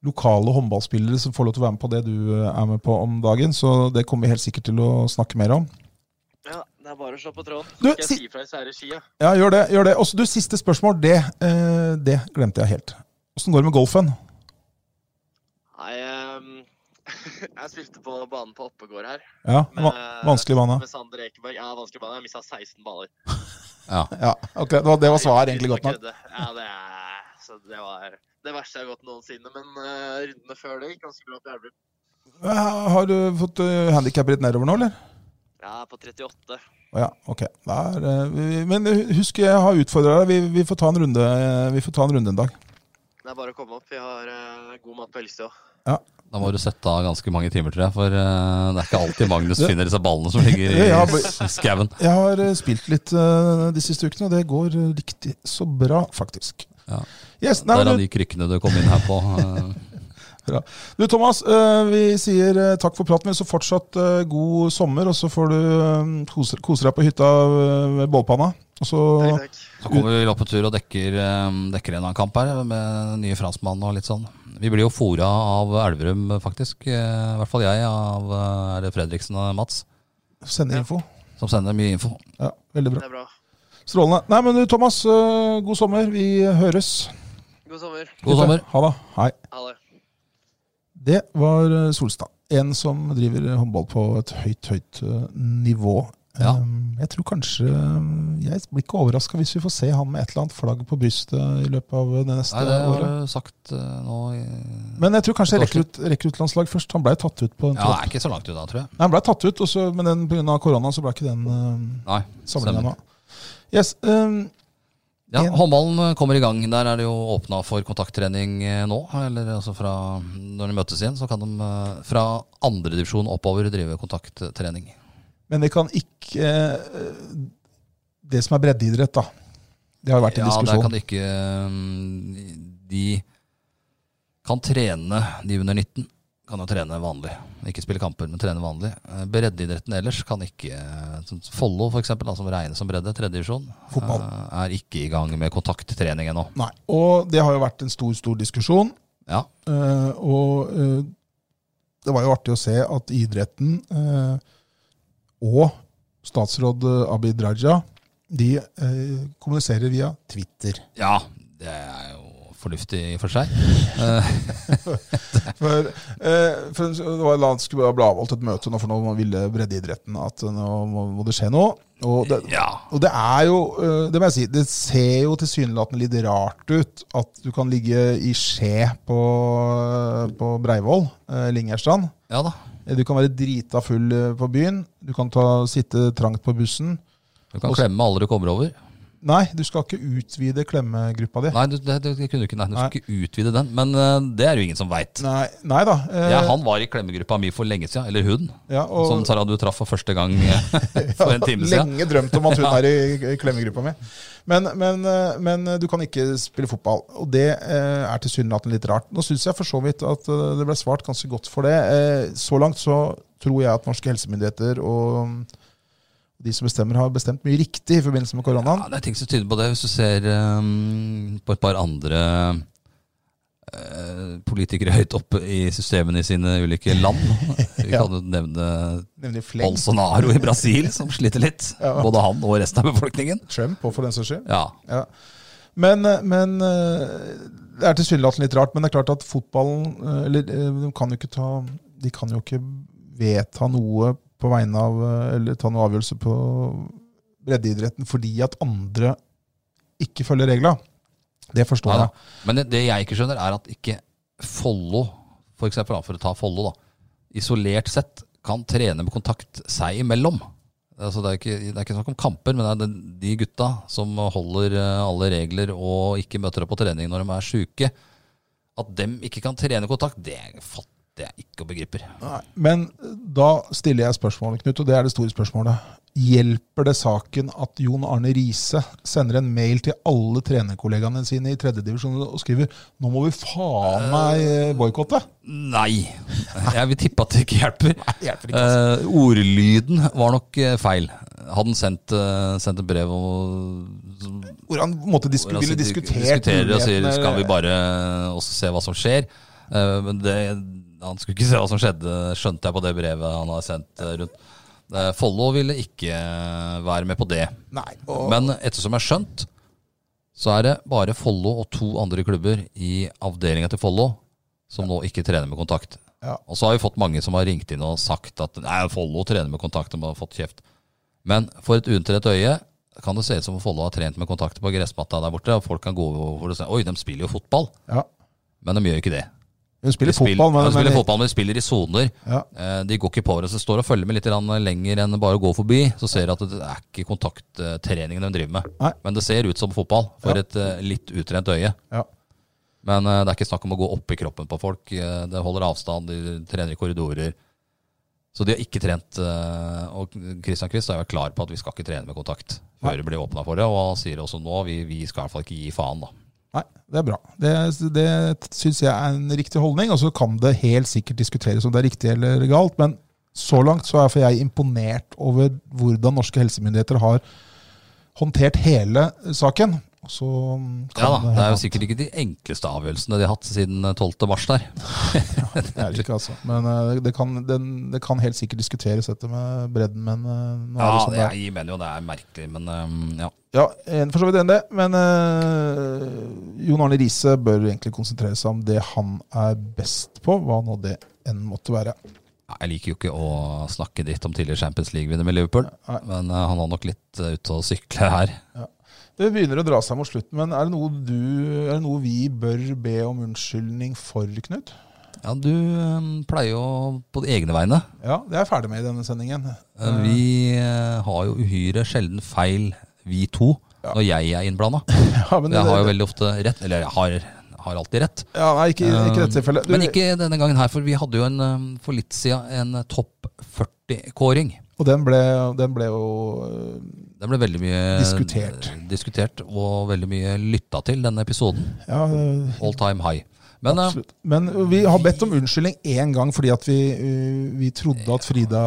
[SPEAKER 2] lokale håndballspillere som får lov til å være med på det du eh, er med på om dagen. Så det kommer vi helt sikkert til å snakke mer om.
[SPEAKER 3] Ja, det er bare å slå på tråden.
[SPEAKER 2] Du,
[SPEAKER 3] Skal jeg
[SPEAKER 2] si-
[SPEAKER 3] si fra hvis jeg er i skia?
[SPEAKER 2] Ja, gjør det. gjør det. Også, du, Siste spørsmål. Det, eh, det glemte jeg helt. Åssen går det med golfen?
[SPEAKER 3] Nei, ehm, (laughs) jeg spilte på banen på Oppegård her.
[SPEAKER 2] Ja, va Vanskelig bane?
[SPEAKER 3] Med Sander Ekeberg. Ja, vanskelig bane. Jeg mista 16 baller.
[SPEAKER 2] Ja, ok, det var, det var svaret egentlig godt nok.
[SPEAKER 3] Kødde. Ja, det, er, så det var det verste jeg har gått noensinne. Men eh, rundene før det gikk ganske bra på Elverum.
[SPEAKER 2] Eh, Har du fått uh, handikappet ditt nedover nå, eller?
[SPEAKER 3] Jeg er på 38.
[SPEAKER 2] Å Ja, ok. Der, eh, vi- men husk, jeg har utfordra deg. Vi, vi, får ta en runde, eh, vi får ta en runde en dag.
[SPEAKER 3] Det er bare å komme opp. Vi har eh, god mat på Elstø.
[SPEAKER 1] Da må du sette av ganske mange timer, tror jeg. For eh, det er ikke alltid Magnus finner disse ballene som ligger i
[SPEAKER 2] Ja,
[SPEAKER 1] s- skauen.
[SPEAKER 2] Jeg har eh, spilt litt eh, de siste ukene, og det går eh, riktig så bra, faktisk.
[SPEAKER 1] Ja.
[SPEAKER 2] Yes, nei,
[SPEAKER 1] Der er
[SPEAKER 2] men,
[SPEAKER 1] de krykkene du kom inn her på. eh.
[SPEAKER 2] du, Thomas, eh, vi sier eh, takk for praten. Men så fortsatt eh, god sommer, og så får du eh, kose, kose deg på hytta eh, ved bålpanna. Og så
[SPEAKER 3] Takk, takk.
[SPEAKER 1] Så kommer vi opp på tur og dekker, eh, dekker en annen kamp her med nye franskmann og litt sånn. Vi blir jo fora av Elverum, faktisk. eh, I hvert fall jeg, av eh, er det Fredriksen og Mats,
[SPEAKER 2] sende info.
[SPEAKER 1] som sender mye info.
[SPEAKER 2] Ja, veldig bra.
[SPEAKER 3] Det er bra.
[SPEAKER 2] Strålende. Nei, men du, Thomas, eh, god sommer. Vi høres.
[SPEAKER 3] God sommer.
[SPEAKER 1] God sommer.
[SPEAKER 2] Ha det. Hei.
[SPEAKER 3] Ha det.
[SPEAKER 2] Det var eh, Solstad. En som driver eh, håndball på et høyt, høyt eh, nivå.
[SPEAKER 1] Ja.
[SPEAKER 2] Eh, Jeg tror kanskje eh, Jeg blir ikke overraska hvis vi får se han med et eller annet flagg på brystet i løpet av eh, det neste
[SPEAKER 1] Nei, det har
[SPEAKER 2] året.
[SPEAKER 1] du sagt eh, nå. i-
[SPEAKER 2] Men jeg tror kanskje
[SPEAKER 1] Neste
[SPEAKER 2] rekker ut, rekker ut landslag først. Han blei tatt ut på en
[SPEAKER 1] Ja,
[SPEAKER 2] tropp.
[SPEAKER 1] det er ikke så langt unna, tror jeg.
[SPEAKER 2] Nei, han ble tatt ut, og så, men den- på grunn av korona så ble ikke den uh,
[SPEAKER 1] Nei,
[SPEAKER 2] samlinga
[SPEAKER 1] stemmer.
[SPEAKER 2] nå. Yes, eh,
[SPEAKER 1] Ja,
[SPEAKER 2] En-
[SPEAKER 1] håndballen eh, kommer i gang. Der er det jo åpna for kontakttrening eh, nå. Eller altså fra når de møtes igjen, så kan de eh, fra andredivisjon oppover drive kontakttrening.
[SPEAKER 2] men det kan ikke eh, Det som er breddeidrett, da. Det har vært en
[SPEAKER 1] Ja, der
[SPEAKER 2] diskusjon.
[SPEAKER 1] kan de ikke mm, De kan trene, de under 19 kan jo trene vanlig. Ikke spille kamper, men trene vanlig. Eh, Breddeidretten ellers kan ikke eh, som Follo, for eksempel, da, som regnes som bredde, tredjedivisjon,
[SPEAKER 2] Fotball.
[SPEAKER 1] er ikke i gang med kontakttrening ennå.
[SPEAKER 2] Nei, og det har jo vært en stor, stor diskusjon.
[SPEAKER 1] Ja.
[SPEAKER 2] Eh, og eh, det var jo artig å se at idretten eh, og statsråd eh, Abid Raja de eh, kommuniserer via Twitter.
[SPEAKER 1] ja, det er jo fornuftig i og for
[SPEAKER 2] (laughs)
[SPEAKER 1] seg. Eh,
[SPEAKER 2] For, eh, for det var det skulle bli avholdt et møte nå, for nå ville breddeidretten at eh, nå må, må det skje noe. Og det,
[SPEAKER 1] Ja.
[SPEAKER 2] og det er jo eh, Det må jeg si, det ser jo tilsynelatende litt rart ut at du kan ligge i skje på, på Breivoll, eh, Lyngerstrand.
[SPEAKER 1] Ja da.
[SPEAKER 2] Du kan være drita full eh, på byen. Du kan ta, sitte trangt på bussen.
[SPEAKER 1] Du kan
[SPEAKER 2] Og-
[SPEAKER 1] klemme alle du kommer over.
[SPEAKER 2] Nei, du skal ikke utvide klemmegruppa di.
[SPEAKER 1] Nei, du, det, det, det kunne du ikke. Nei, du
[SPEAKER 2] Nei.
[SPEAKER 1] skulle ikke utvide den. Men eh, det er jo ingen som veit.
[SPEAKER 2] Nei, nei da. eh,
[SPEAKER 1] Ja, han var i klemmegruppa mi for lenge siden. Eller hun.
[SPEAKER 2] ja, og-
[SPEAKER 1] som Sara du traff for første gang
[SPEAKER 2] (laughs)
[SPEAKER 1] eh, (laughs) for en time siden.
[SPEAKER 2] Lenge drømt om
[SPEAKER 1] (laughs)
[SPEAKER 2] at hun er i, i klemmegruppa mi. Men, men, eh, men eh, du kan ikke spille fotball, og det eh, er tilsynelatende litt rart. Nå syns jeg for så vidt at eh, det ble svart ganske godt for det. Eh, så langt så tror jeg at norske helsemyndigheter og mm, de som bestemmer, har bestemt mye riktig i forbindelse med
[SPEAKER 1] Ja,
[SPEAKER 2] koronaen.
[SPEAKER 1] det er ting ehm, som tyder på det. Hvis du ser eh, på et par andre eh, politikere høyt oppe i systemene i sine ulike
[SPEAKER 2] (laughs)
[SPEAKER 1] land. Vi
[SPEAKER 2] Ja.
[SPEAKER 1] kan jo nevne
[SPEAKER 2] Nemlig fleng.
[SPEAKER 1] Bolsonaro i Brasil, som sliter litt.
[SPEAKER 2] Ja.
[SPEAKER 1] Både han og resten av befolkningen.
[SPEAKER 2] Trump òg, for den saks skyld.
[SPEAKER 1] Ja,
[SPEAKER 2] Ja. Men, men eh, det er tilsynelatende litt rart, men det er klart at fotballen eh, eller, eh, de, kan jo ikke ta, de kan jo ikke vedta noe på vegne av eh, Eller ta noe avgjørelse på breddeidretten fordi at andre ikke følger regla. Det forstår
[SPEAKER 1] Neida.
[SPEAKER 2] jeg.
[SPEAKER 1] Men det, det jeg ikke skjønner, er at ikke Follo, for eksempel, da, for å ta Follo, da, isolert sett kan trene med kontakt seg imellom. Altså, det, er ikke, det er ikke snakk om kamper, men det er den, de gutta som holder eh, alle regler og ikke møter opp på trening når de er sjuke, at dem ikke kan trene kontakt, det fatter jeg ikke og begriper.
[SPEAKER 2] Nei, Men da stiller jeg spørsmålet, Knut, og det er det store spørsmålet. Hjelper det saken at Jon Arne Riise sender en mail til alle trenerkollegaene sine i tredjedivisjon og skriver nå må vi faen meg eh, boikotte?
[SPEAKER 1] Nei! Jeg vil tippe at det ikke
[SPEAKER 2] (laughs)
[SPEAKER 1] hjelper.
[SPEAKER 2] Hjelper ikke. altså.
[SPEAKER 1] Eh, ordlyden var nok eh, feil. Hadde han sendt, eh, sendt et brev og
[SPEAKER 2] Hvor han på en måte
[SPEAKER 1] Hvor
[SPEAKER 2] disku,
[SPEAKER 1] han
[SPEAKER 2] ville
[SPEAKER 1] sitter-
[SPEAKER 2] diskutert
[SPEAKER 1] diskuterer og sier
[SPEAKER 2] mulighetene,
[SPEAKER 1] skal vi bare også se hva som skjer. Eh, men det, han skulle ikke se hva som skjedde, skjønte jeg på det brevet han har sendt eh, rundt. Eh, Follo ville ikke eh, være med på det.
[SPEAKER 2] Nei, og,
[SPEAKER 1] Men ettersom jeg har skjønt, så er det bare Follo og to andre klubber i avdelinga til Follo som nå ikke trener med kontakt.
[SPEAKER 2] Ja.
[SPEAKER 1] Og så har vi fått mange som har ringt inn og sagt at nei, Follo trener med kontakt, de har fått kjeft. Men for et unntrent øye kan det se ut som om Follo har trent med kontakt på gressmatta der borte, og folk kan gå over og si oi, de spiller jo fotball.
[SPEAKER 2] ja.
[SPEAKER 1] Men de gjør ikke det. De
[SPEAKER 2] Hun spiller
[SPEAKER 1] spiller,
[SPEAKER 2] fotball, men,
[SPEAKER 1] ja, de spiller
[SPEAKER 2] men-
[SPEAKER 1] fotball, men de spiller i soner.
[SPEAKER 2] Ja.
[SPEAKER 1] Eh, De går ikke på hverandre, så de står og følger med litt grann lenger enn bare å gå forbi. Så ser de at det er ikke kontakttreningen de driver med.
[SPEAKER 2] Nei.
[SPEAKER 1] Men det ser ut som fotball for
[SPEAKER 2] Ja.
[SPEAKER 1] et eh, litt utrent øye.
[SPEAKER 2] Ja.
[SPEAKER 1] Men eh, det er ikke snakk om å gå opp i kroppen på folk. Eh, Det holder avstand, de trener i korridorer. Så de har ikke trent. eh, Og Christian Quist er jo klar på at vi skal ikke trene med kontakt før det blir åpna for det. Og han sier også nå vi, vi skal i hvert fall ikke gi faen, da.
[SPEAKER 2] Nei, det er bra. Det, det syns jeg er en riktig holdning. Og så kan det helt sikkert diskuteres om det er riktig eller galt, men så langt så er for jeg imponert over hvordan norske helsemyndigheter har håndtert hele saken. Og Så kan
[SPEAKER 1] Ja da, Det er jo
[SPEAKER 2] hende
[SPEAKER 1] sikkert ikke de enkleste avgjørelsene de har hatt siden 12. mars der.
[SPEAKER 2] at det er det ikke, altså. Men eh, det kan, den, det kan helt sikkert diskuteres dette med bredden, men eh, nå er
[SPEAKER 1] Ja,
[SPEAKER 2] det som det er.
[SPEAKER 1] jeg mener jo det er merkelig, men øhm, ja.
[SPEAKER 2] Ja, en for så vidt enig i det. Men eh, Jon Arne Riise bør egentlig konsentrere seg om det han er best på, hva nå det enn måtte være.
[SPEAKER 1] Jeg liker jo ikke å snakke dritt om tidligere Champions League-vinner med Liverpool,
[SPEAKER 2] Nei.
[SPEAKER 1] men øh, han var nok litt øh, ute å sykle her.
[SPEAKER 2] Det begynner å dra seg mot slutten, men er det noe, du, er det noe vi bør be om unnskyldning for, Knut?
[SPEAKER 1] Ja, Du øhm, pleier jo på de egne vegne.
[SPEAKER 2] Ja, det er jeg ferdig med i denne sendingen.
[SPEAKER 1] Øh, Vi øh, har jo uhyre sjelden feil, vi to,
[SPEAKER 2] Ja.
[SPEAKER 1] når jeg er innblanda.
[SPEAKER 2] (laughs) Ja, men det,
[SPEAKER 1] Jeg har jo veldig ofte rett, eller jeg har, har alltid rett.
[SPEAKER 2] ja, nei, ikke, ikke i dette tilfellet. Du,
[SPEAKER 1] Um, Men ikke denne gangen her, for vi hadde jo en, øhm, for litt siden en topp 40-kåring.
[SPEAKER 2] Og den ble, den ble jo øh,
[SPEAKER 1] Den ble veldig mye
[SPEAKER 2] Diskutert.
[SPEAKER 1] diskutert og veldig mye lytta til, denne episoden.
[SPEAKER 2] Ja, øh,
[SPEAKER 1] All time high. Men eh,
[SPEAKER 2] absolutt. Men vi har bedt om unnskyldning én gang fordi at vi, øh, vi trodde at Frida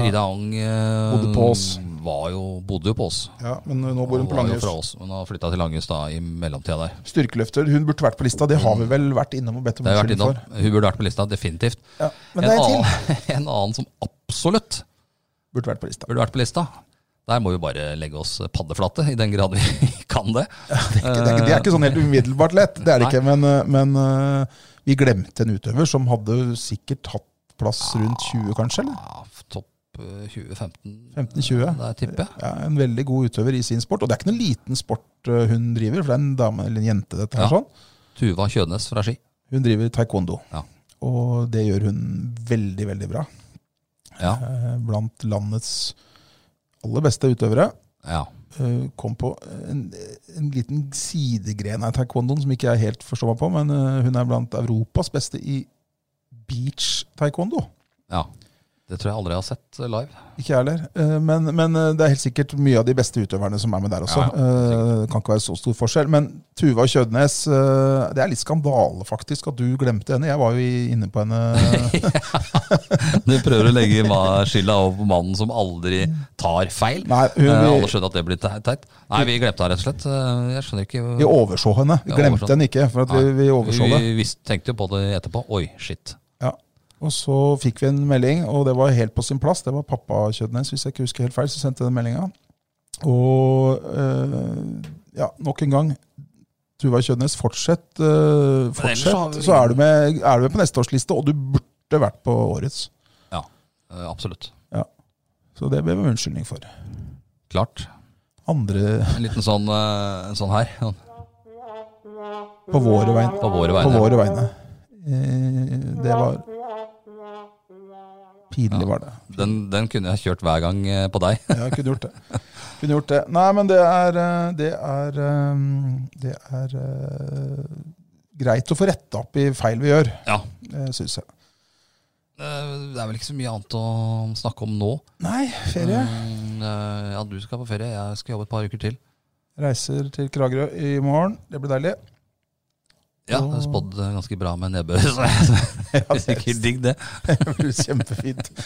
[SPEAKER 1] Frida Ang eh,
[SPEAKER 2] Ah. Bodde på oss.
[SPEAKER 1] var jo, bodde jo på oss.
[SPEAKER 2] Ja, men nå bor hun på
[SPEAKER 1] var jo fra
[SPEAKER 2] Langhus.
[SPEAKER 1] oss, men har flytta til Langhus da i mellomtida der.
[SPEAKER 2] Styrkeløfter. Hun burde vært på lista. Det har vi vel vært innom og bedt om
[SPEAKER 1] Det har jeg vært
[SPEAKER 2] unnskyldning
[SPEAKER 1] innom.
[SPEAKER 2] for.
[SPEAKER 1] Hun burde vært på lista, definitivt.
[SPEAKER 2] Ja, men det er
[SPEAKER 1] en,
[SPEAKER 2] en til.
[SPEAKER 1] annen, (laughs) en annen som absolutt
[SPEAKER 2] Burde vært på lista.
[SPEAKER 1] burde vært på lista. Der må vi bare legge oss paddeflate, i den grad vi (laughs) kan det.
[SPEAKER 2] ikke, det, er ikke, det er ikke sånn helt umiddelbart lett, det er det
[SPEAKER 1] Nei.
[SPEAKER 2] ikke. Men, øh, men øh, vi glemte en utøver som hadde sikkert hatt plass rundt 20, kanskje? eller?
[SPEAKER 1] Eh, Ja, topp eh, 2015,
[SPEAKER 2] 15-20.
[SPEAKER 1] der tipper jeg.
[SPEAKER 2] Ja, en veldig god utøver i sin sport. Og det er ikke noen liten sport øh, hun driver, for det er en dame eller en jente. dette her
[SPEAKER 1] Ja.
[SPEAKER 2] sånn.
[SPEAKER 1] Tuva Kjønes fra Ski.
[SPEAKER 2] Hun driver taekwondo,
[SPEAKER 1] Ja.
[SPEAKER 2] og det gjør hun veldig, veldig bra.
[SPEAKER 1] Ja,
[SPEAKER 2] Eh, Blant landets aller beste utøvere.
[SPEAKER 1] ja.
[SPEAKER 2] eh, kom på en, en liten sidegren av taekwondoen som ikke jeg helt forstår meg på, men eh, hun er blant Europas beste i beach taekwondo.
[SPEAKER 1] ja. Det tror jeg aldri jeg har sett eh, live.
[SPEAKER 2] Ikke jeg heller. Eh, Men, men eh, det er helt sikkert mye av de beste utøverne som er med der også.
[SPEAKER 1] Ja, ja,
[SPEAKER 2] Eh, Det kan ikke være så stor forskjell. Men Tuva Kjødnes, eh, det er litt skandale faktisk at du glemte henne. Jeg var jo i- inne
[SPEAKER 1] (laughs)
[SPEAKER 2] på henne.
[SPEAKER 1] Du prøver å legge ma- skylda over på mannen som aldri tar feil.
[SPEAKER 2] Nei,
[SPEAKER 1] Eh,
[SPEAKER 2] hun,
[SPEAKER 1] alle skjønner at det blir te- teit. Nei, vi glemte han rett og slett. Eh, Jeg skjønner ikke
[SPEAKER 2] vi, vi overså henne. Vi
[SPEAKER 1] Ja,
[SPEAKER 2] glemte
[SPEAKER 1] overså.
[SPEAKER 2] henne ikke, for at vi, vi overså det.
[SPEAKER 1] Vi visste- tenkte jo på det etterpå. Oi, shit.
[SPEAKER 2] Ja. Og så fikk vi en melding, og det var helt på sin plass. Det var pappa Kjødnes, hvis jeg ikke husker helt feil, som sendte den meldinga. Og eh, ja, nok en gang. Tuva Kjødnes, fortsett. eh,
[SPEAKER 1] ellers så har
[SPEAKER 2] fortsett.
[SPEAKER 1] vi-
[SPEAKER 2] Så er du, med, er du med på neste års liste, og du burde vært på årets.
[SPEAKER 1] Ja, eh, absolutt.
[SPEAKER 2] Så det ble vi unnskyldning for.
[SPEAKER 1] Klart.
[SPEAKER 2] Andre
[SPEAKER 1] En liten sånn, eh, en sånn her. sånn,
[SPEAKER 2] på våre vegne.
[SPEAKER 1] På våre
[SPEAKER 2] På
[SPEAKER 1] vegne.
[SPEAKER 2] våre vegne. Eh, det var Pinlig var det.
[SPEAKER 1] Den, den kunne jeg kjørt hver gang eh, på deg. (laughs)
[SPEAKER 2] Ja, jeg kunne gjort det. Kunne gjort det. Nei, men det er eh, Det er, eh, det er eh, greit å få retta opp i feil vi gjør,
[SPEAKER 1] Ja.
[SPEAKER 2] syns jeg.
[SPEAKER 1] Eh, Det er vel ikke så mye annet å snakke om nå.
[SPEAKER 2] Nei, ferie.
[SPEAKER 1] Mm, eh, Ja, du skal på ferie. Jeg skal jobbe et par uker til.
[SPEAKER 2] Reiser til Kragerø i morgen. Det blir
[SPEAKER 1] (laughs)
[SPEAKER 2] deilig.
[SPEAKER 1] Ja,
[SPEAKER 2] Og-
[SPEAKER 1] jeg spådde eh, ganske bra med nedbør, (laughs) så jeg
[SPEAKER 2] Ja,
[SPEAKER 1] er sikkert digg det.
[SPEAKER 2] (laughs) Det blir kjempefint.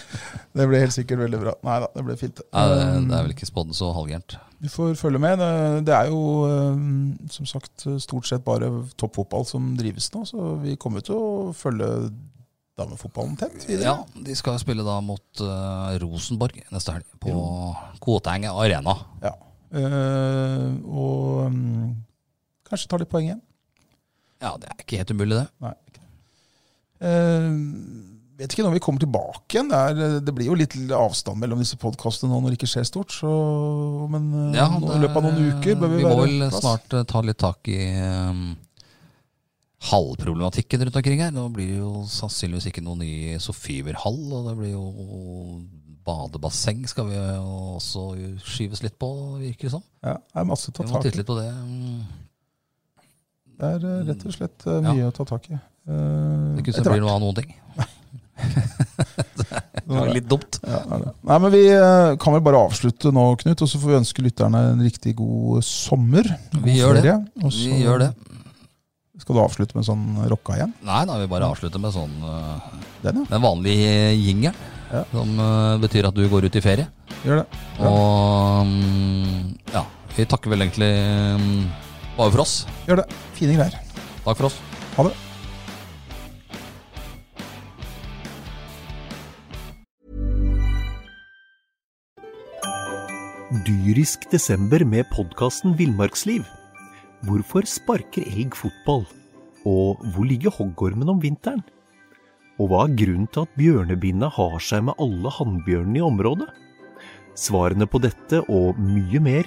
[SPEAKER 2] Det blir helt sikkert veldig bra. Nei da, det blir fint.
[SPEAKER 1] Nei, det det er vel ikke spådd så halvgærent.
[SPEAKER 2] Du får følge med. Det- Det er jo eh, som sagt stort sett bare toppfotball som drives nå, så vi kommer til å følge damefotballen tett videre.
[SPEAKER 1] Ja, de skal spille da mot eh, Rosenborg neste helg på Koteng Arena.
[SPEAKER 2] Ja. Eh, og mm, kanskje ta litt poeng igjen.
[SPEAKER 1] Ja, det er ikke helt umulig, det.
[SPEAKER 2] Nei. ikke det. Eh, vet ikke når vi kommer tilbake igjen. Det, er, det blir jo litt avstand mellom disse podkastene nå når det ikke skjer stort. Så, men eh,
[SPEAKER 1] Ja,
[SPEAKER 2] nå,
[SPEAKER 1] Mm, det-
[SPEAKER 2] i løpet av noen uker bør vi,
[SPEAKER 1] Vi
[SPEAKER 2] være
[SPEAKER 1] må vel
[SPEAKER 2] på plass.
[SPEAKER 1] snart eh, ta litt tak i um, hallproblematikken rundt omkring her. Nå blir det jo sannsynligvis ikke noen ny Sofiberhall, og det blir jo badebasseng skal vi jo også skyves litt på, virker det som.
[SPEAKER 2] Ja, det er masse å ta
[SPEAKER 1] Vi må
[SPEAKER 2] tak i.
[SPEAKER 1] titte litt på det. Mm.
[SPEAKER 2] Det er eh, rett og slett eh, mye å ta tak i. Eh,
[SPEAKER 1] Det kunne
[SPEAKER 2] etter
[SPEAKER 1] det blir
[SPEAKER 2] hvert.
[SPEAKER 1] noe av noen ting. Det var litt dumt.
[SPEAKER 2] Ja, det er det. Nei, men Vi eh, kan vel bare avslutte nå, Knut, og så får vi ønske lytterne en riktig god sommer. God
[SPEAKER 1] Vi gjør det.
[SPEAKER 2] ferie, og
[SPEAKER 1] Vi
[SPEAKER 2] så
[SPEAKER 1] gjør det.
[SPEAKER 2] Skal du avslutte med sånn rocka igjen?
[SPEAKER 1] Nei, da vil vi bare avslutte med sånn eh,
[SPEAKER 2] Den, ja.
[SPEAKER 1] den vanlige jingeren.
[SPEAKER 2] Ja.
[SPEAKER 1] Som eh, betyr at du går ut i ferie.
[SPEAKER 2] Gjør det. Ja.
[SPEAKER 1] Og mm, ja, vi takker vel egentlig mm, bare for oss.
[SPEAKER 2] Gjør det. Fine greier.
[SPEAKER 1] Takk for oss.
[SPEAKER 2] Ha det.
[SPEAKER 4] Dyrisk desember med podkasten Villmarksliv. Hvorfor sparker elg fotball? Og hvor ligger hoggormen om vinteren? Og hva er grunnen til at bjørnebinna har seg med alle hannbjørnene i området? Svarene på dette og mye mer